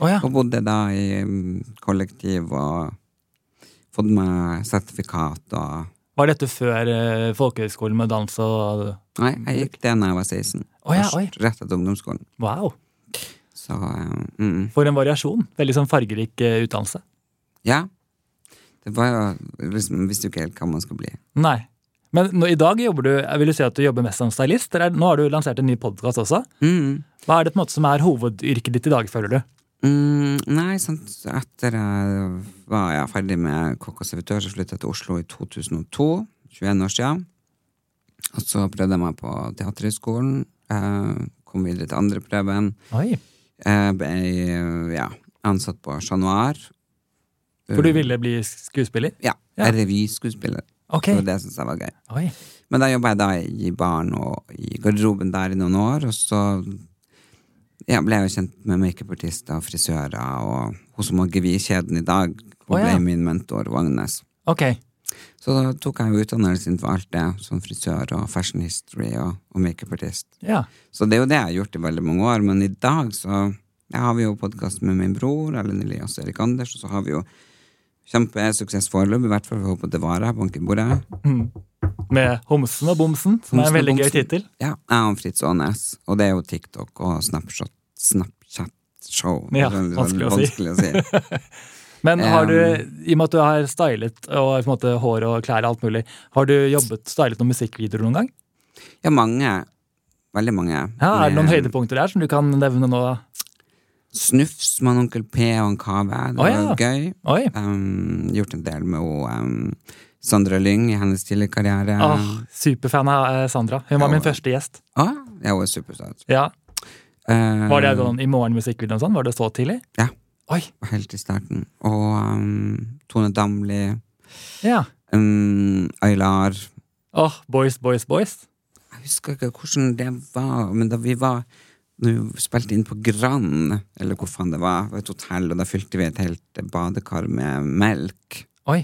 Speaker 1: Å ja.
Speaker 2: Og bodde da i mm, kollektiv og fått meg sertifikat og
Speaker 1: Var dette før eh, folkehøgskolen med dans og
Speaker 2: Nei, jeg gikk det da jeg var 16.
Speaker 1: Å ja,
Speaker 2: Først
Speaker 1: oi.
Speaker 2: Rett etter ungdomsskolen.
Speaker 1: Wow!
Speaker 2: Så eh, mm, mm.
Speaker 1: For en variasjon. Veldig sånn fargerik eh, utdannelse.
Speaker 2: ja. Det var jo liksom, Visste jo ikke helt hva man skal bli.
Speaker 1: Nei. Men nå, i dag jobber du, eh, vil du si at du jobber mest som stylist? Eller er- nå har du lansert en ny podkast også.
Speaker 2: Mm.
Speaker 1: Hva er det på en måte som er hovedyrket ditt i dag, føler du?
Speaker 2: Mm, nei, sant. etter jeg var jeg ferdig med kokk og servitør, så flyttet jeg til Oslo i 2002. 21 år siden. Og så prøvde jeg meg på Teaterhøgskolen. Eh, kom videre til andre prøven.
Speaker 1: Oi.
Speaker 2: Jeg ble eh, ja, ansatt på Chat Noir.
Speaker 1: For du ville bli skuespiller?
Speaker 2: Ja.
Speaker 1: Ja.
Speaker 2: Revyskuelsesspiller.
Speaker 1: Ok.
Speaker 2: Og det syns jeg var gøy.
Speaker 1: Oi.
Speaker 2: Men da jobba jeg da i baren og i garderoben der i noen år, og så ja, ble jeg jo kjent med makeupartister og frisører, og hun som har gevirkjeden i dag, hun
Speaker 1: Å, ja.
Speaker 2: ble min mentor, hun Agnes.
Speaker 1: Ok.
Speaker 2: Så da tok jeg jo utdannelsen for alt det, som frisør og fashion history og, og makeupartist.
Speaker 1: Ja.
Speaker 2: Så det er jo det jeg har gjort i veldig mange år, men i dag så ja, har vi jo podkast med min bror, Erlend Elias og Erik Anders, og så har vi jo kjempesuksess foreløpig, i hvert fall vi håper det varer, bank i bordet.
Speaker 1: Hmm. Med Homsen og Bomsen, som er en veldig gøy tittel.
Speaker 2: Ja, jeg og Fritz Aanes. Og det er jo TikTok og Snapchat, Snapchat-show.
Speaker 1: Ja,
Speaker 2: Det er litt
Speaker 1: vanskelig å
Speaker 2: sånn
Speaker 1: si.
Speaker 2: vanskelig å si.
Speaker 1: Men har du,
Speaker 2: Um,
Speaker 1: i og med at du har stylet og på en måte hår og klær og alt mulig, har du jobbet stylet noen musikkvideoer noen gang?
Speaker 2: Ja, mange. Veldig mange.
Speaker 1: Ja, Er det noen
Speaker 2: Med
Speaker 1: høydepunkter der som du kan nevne nå?
Speaker 2: Snufs med en Onkel P og en Kave. Det
Speaker 1: Å,
Speaker 2: var
Speaker 1: ja.
Speaker 2: gøy.
Speaker 1: Oi.
Speaker 2: Um, gjort en del med hun, um, Sandra Lyng i hennes tidligere karriere.
Speaker 1: Åh, superfan av eh, Sandra. Hun var
Speaker 2: Um, Ja.
Speaker 1: min første gjest.
Speaker 2: Ah, ja, hun er supersøt.
Speaker 1: Ja.
Speaker 2: Um,
Speaker 1: Var det sånn i morgen musikkvideoen og sånn? Var det så tidlig?
Speaker 2: Ja.
Speaker 1: Oi.
Speaker 2: Helt i starten. Og um, Tone Damli.
Speaker 1: Ja.
Speaker 2: Um, Aylar.
Speaker 1: Åh, boys, boys, boys.
Speaker 2: Jeg husker ikke hvordan det var, men da vi var Når vi spilte inn på Grand, eller hvor faen det var, på et hotell, og da fylte vi et helt badekar med melk.
Speaker 1: Oi.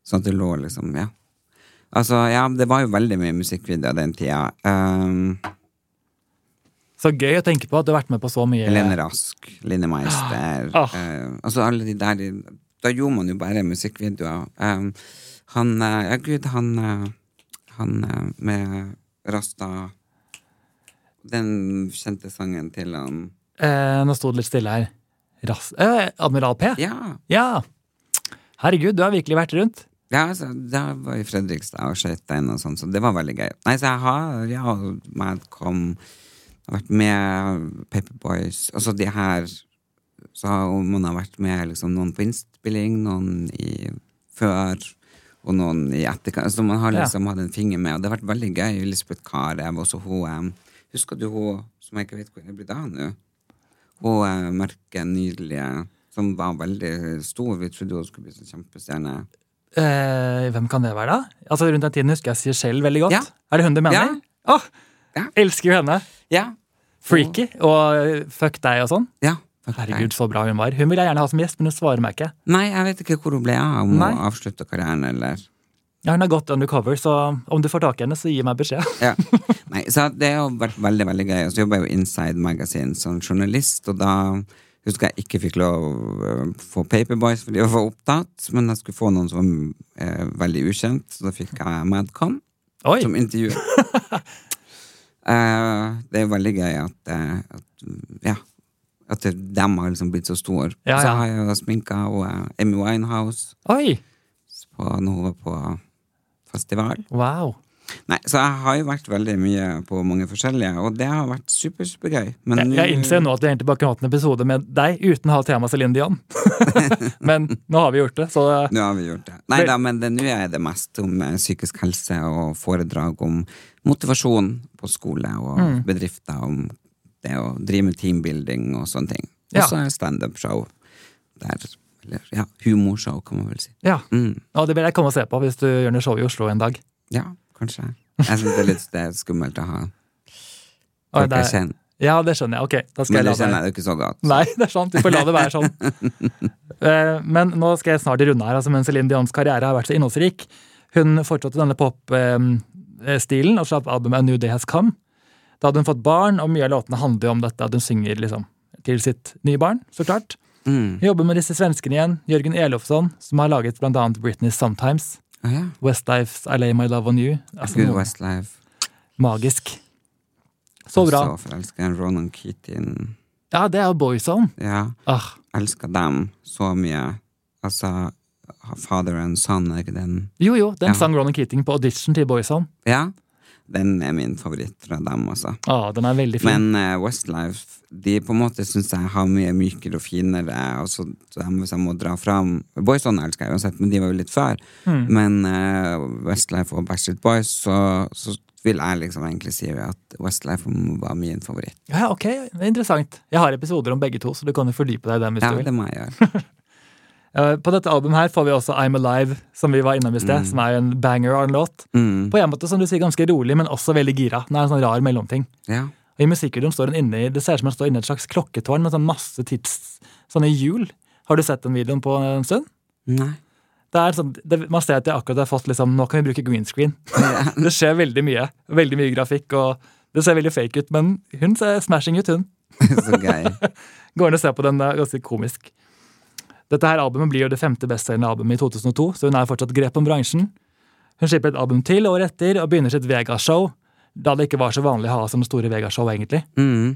Speaker 2: Sånn at det lå liksom Ja. Altså, ja, det var jo veldig mye musikkvideoer den tida. Um,
Speaker 1: Så gøy å tenke på at du har vært med på så mye.
Speaker 2: Helene Rask, Line Meister
Speaker 1: Ah.
Speaker 2: eh, Altså alle de der de- Da gjorde man jo bare musikkvideoer. Um, han eh, Ja, gud, han eh, Han eh, med Rasta Den kjente sangen til han
Speaker 1: Eh, nå sto det litt stille her. Ras eh, Admiral P?
Speaker 2: Ja!
Speaker 1: Ja. Herregud, du har virkelig vært rundt.
Speaker 2: ja altså, da var jeg i Fredrikstad og skøyta inn og sånn, så det var veldig gøy. Nei, så jeg har Ja, Madcom har vært med Paperboys Altså de her Så har jo- man har vært med liksom noen på innspilling, noen i før og noen i etterkant. Så man har
Speaker 1: Ja.
Speaker 2: liksom hatt en finger med, og det har vært veldig gøy. Lisbeth Karev, også hun em, Husker du hun som jeg ikke vet hvor er blitt av nå? Hun eh, merke nydelige som var veldig stor. Vi trodde hun skulle bli sånn kjempestjerne.
Speaker 1: Eh, hvem kan det være, da? Altså Rundt den tiden husker jeg Seychelle veldig godt.
Speaker 2: Ja.
Speaker 1: Er det hun du mener? Åh,
Speaker 2: Ja. Mm.
Speaker 1: Elsker jo henne.
Speaker 2: Ja.
Speaker 1: Freaky og eh, fuck deg og sånn.
Speaker 2: ja. Fuck deg.
Speaker 1: Herregud, så bra hun var. Hun vil jeg gjerne ha som gjest, men hun svarer meg ikke.
Speaker 2: Nei, jeg vet ikke hvor hun ble av. Om
Speaker 1: Nei.
Speaker 2: hun avslutta karrieren, eller
Speaker 1: Ja, Hun har gått undercover, så om du får tak i henne, så gi meg beskjed.
Speaker 2: ja. Nei, så det har vært veldig, veldig gøy. Og så jobba jeg jo Inside Magazine som journalist, og da husker jeg ikke fikk lov å få Paperboys fordi jeg var opptatt, men jeg skulle få noen som var eh, veldig ukjent, så da fikk jeg Madcon
Speaker 1: Oi,
Speaker 2: som intervju. Eh, det er jo veldig gøy at, eh, at ja, at det- dem har liksom blitt så stor.
Speaker 1: Ja,
Speaker 2: Så
Speaker 1: ja.
Speaker 2: har jeg jo sminka og eh, Amy Winehouse
Speaker 1: oi,
Speaker 2: på, når hun var på festival.
Speaker 1: wow.
Speaker 2: Nei, så jeg har jo vært veldig mye på mange forskjellige, og det har vært super, supergøy. Men
Speaker 1: Jeg, jeg innser nå at vi egentlig bare kunne hatt en episode med deg uten å ha tema Céline Dion. men nå har vi gjort det, så
Speaker 2: nå har vi gjort det. Nei da, men det- nå er det mest om eh, psykisk helse og foredrag om motivasjon på skole og
Speaker 1: Mm.
Speaker 2: bedrifter, om det å drive med teambuilding og sånne ting. Og
Speaker 1: Ja.
Speaker 2: så er det standup-show der. Eller ja, humorshow, kan man vel si.
Speaker 1: ja.
Speaker 2: Mm.
Speaker 1: Og det vil jeg komme og se på hvis du gjør noe show i Oslo en dag.
Speaker 2: Ja, kanskje. Jeg syns det er litt det er skummelt å ha
Speaker 1: Oi,
Speaker 2: folk jeg
Speaker 1: det er-
Speaker 2: kjenner.
Speaker 1: ja, det skjønner jeg. Ok, da skal
Speaker 2: Men det
Speaker 1: jeg la
Speaker 2: kjenner
Speaker 1: deg
Speaker 2: jeg jo ikke så godt.
Speaker 1: Nei, det er sant. Du får la det være sånn. Eh, Men nå skal jeg snart runde her, altså, men Celine Dions karriere har vært så innholdsrik. Hun fortsatte denne popstilen eh, og slapp albumet A New Day Has Come. Da hadde hun fått barn, og mye av låtene handler jo om dette, at hun synger liksom, til sitt nye barn, så klart.
Speaker 2: Mm.
Speaker 1: Hun jobber med disse svenskene igjen, Jørgen Elofsson, som har laget blant annet Britney's Sometimes,
Speaker 2: Å ja.
Speaker 1: Westlife's I Lay My Love On You. Altså,
Speaker 2: Good
Speaker 1: noe
Speaker 2: Westlife.
Speaker 1: magisk. Så bra.
Speaker 2: Så forelska i Ronan Keating.
Speaker 1: Ja, det er jo Boyzone.
Speaker 2: Ja.
Speaker 1: Ah,
Speaker 2: Elska dem så mye. Altså Father and Son, er ikke den
Speaker 1: jo, jo, den
Speaker 2: Ja.
Speaker 1: sang Ronan Keating på audition til Boyzone.
Speaker 2: Ja. Den er min favoritt fra dem, altså.
Speaker 1: Ah, den er veldig fin.
Speaker 2: Men eh, Westlife de på en måte syns jeg har mye mykere og finere. Og så, så jeg må- hvis jeg må dra fram Boyzone elsker jeg uansett, men de var jo litt før.
Speaker 1: Mm. Hmm.
Speaker 2: Men eh, Westlife og Backstreet Boys, så, så vil jeg liksom egentlig si at Westlife var min favoritt.
Speaker 1: Ja, ok, interessant. Jeg har episoder om begge to, så du kan jo fordype deg i dem hvis
Speaker 2: Ja,
Speaker 1: du vil.
Speaker 2: det må jeg gjøre.
Speaker 1: Eh, På dette albumet her får vi også I'm Alive, som vi var innom i sted, som er jo en banger av en låt.
Speaker 2: Mm,
Speaker 1: På en måte, som du sier, ganske rolig, men også veldig gira. Den er en sånn rar mellomting.
Speaker 2: ja.
Speaker 1: Og I musikkvideoen står den inne i Det ser ut som den står inne i et slags klokketårn med sånn masse tids... Sånne hjul. Har du sett den videoen på en stund?
Speaker 2: Nei.
Speaker 1: Det er sånn, det, man ser at de akkurat har fått liksom, Nå kan vi bruke green screen. det skjer veldig mye. Veldig mye grafikk, og det ser veldig fake ut, men hun ser smashing ut, hun.
Speaker 2: så gøy.
Speaker 1: Går inn og ser på den, det er ganske komisk. Dette her albumet blir jo det femte bestselgende albumet i 2002, så hun er fortsatt grep om bransjen. Hun slipper et album til året etter og begynner sitt Vegashow, da det ikke var så vanlig å ha sånne store Vegashow, egentlig.
Speaker 2: Mm,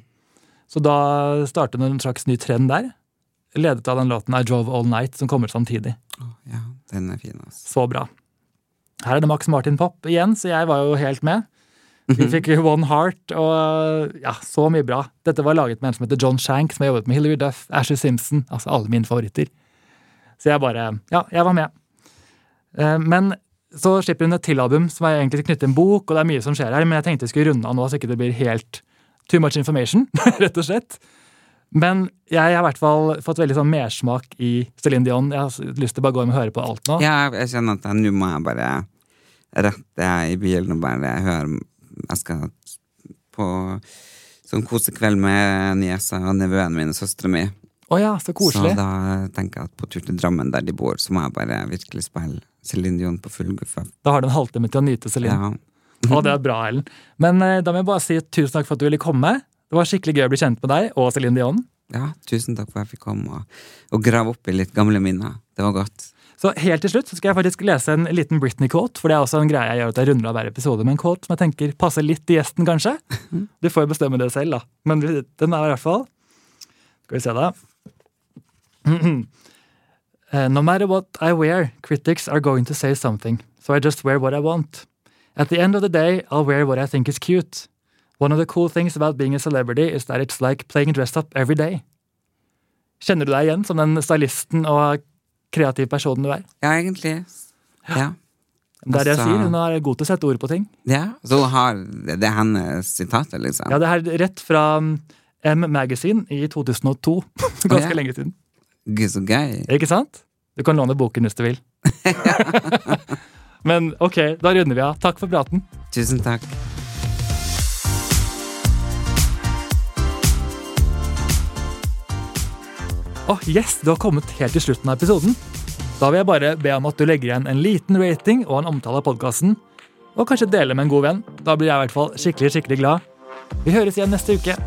Speaker 1: Så da startet hun en slags ny trend der, ledet av den låten I Drove All Night, som kommer samtidig.
Speaker 2: ja, den er fin, altså.
Speaker 1: Så bra. Her er det Max Martin Pop igjen, så jeg var jo helt med. Vi fikk One Heart og ja, så mye bra. Dette var laget med en som heter John Shank, som har jobbet med Hilary Duff, Ashley Simpson, altså alle mine favoritter. Så jeg bare Ja, jeg var med. Eh, Men så slipper hun et til album som er egentlig knyttet til en bok, og det er mye som skjer her, men jeg tenkte jeg skulle runde av nå, så ikke det blir helt too much information, rett og slett. Men jeg har i hvert fall fått veldig sånn mersmak i Céline Dion. Jeg har lyst til å bare gå hjem og høre på alt nå.
Speaker 2: Ja, jeg kjenner at jeg- nå må jeg bare rette i bilen og bare høre Jeg skal på sånn kosekveld med niesa og nevøen min og søstera mi.
Speaker 1: Å ja, så koselig.
Speaker 2: Så da tenker jeg at på tur til Drammen, der de bor, så må jeg bare virkelig spille Céline Dion på full guffe.
Speaker 1: Da har du en halvtime til å nyte Celine.
Speaker 2: Ja.
Speaker 1: Å, det er bra, Ellen. Men eh, da må jeg bare si tusen takk for at du ville komme. Det var skikkelig gøy å bli kjent med deg og Celine Dion.
Speaker 2: ja, tusen takk for at jeg fikk komme og, og grave opp i litt gamle minner. Det var godt.
Speaker 1: Så helt til slutt så skal jeg faktisk lese en liten Britney-quote, for det er også en greie jeg gjør at jeg runder av hver episode med en quote som jeg tenker passer litt til gjesten, kanskje. Du får jo bestemme det selv, da. Men den er i hvert fall Skal vi se, da. Eh, no matter what I wear, critics are going to say something, so I just wear what I want. At the end of the day, I'll wear what I think is cute. One of the cool things about being a celebrity is that it's like playing dressed up every day. Kjenner du deg igjen som den stylisten og kreative personen du er?
Speaker 2: Ja, egentlig. Ja.
Speaker 1: Det er det jeg
Speaker 2: Altså-
Speaker 1: sier. Hun er god til å sette ord på ting.
Speaker 2: ja. Så hun har Det er hennes sitater, liksom?
Speaker 1: Ja, Det her er rett fra mm, M Magazine i 2002. Ganske
Speaker 2: Å, ja.
Speaker 1: lenge siden.
Speaker 2: Gud, så gøy.
Speaker 1: Ikke sant? Du kan låne boken hvis du vil. Men ok, da runder vi av. Takk for praten.
Speaker 2: Tusen takk.
Speaker 1: Åh, yes, Du har kommet helt til slutten av episoden. Da vil jeg bare be om at du legger igjen en liten rating og en omtale av podkasten. Og kanskje dele med en god venn. Da blir jeg i hvert fall skikkelig, skikkelig glad. Vi høres igjen neste uke.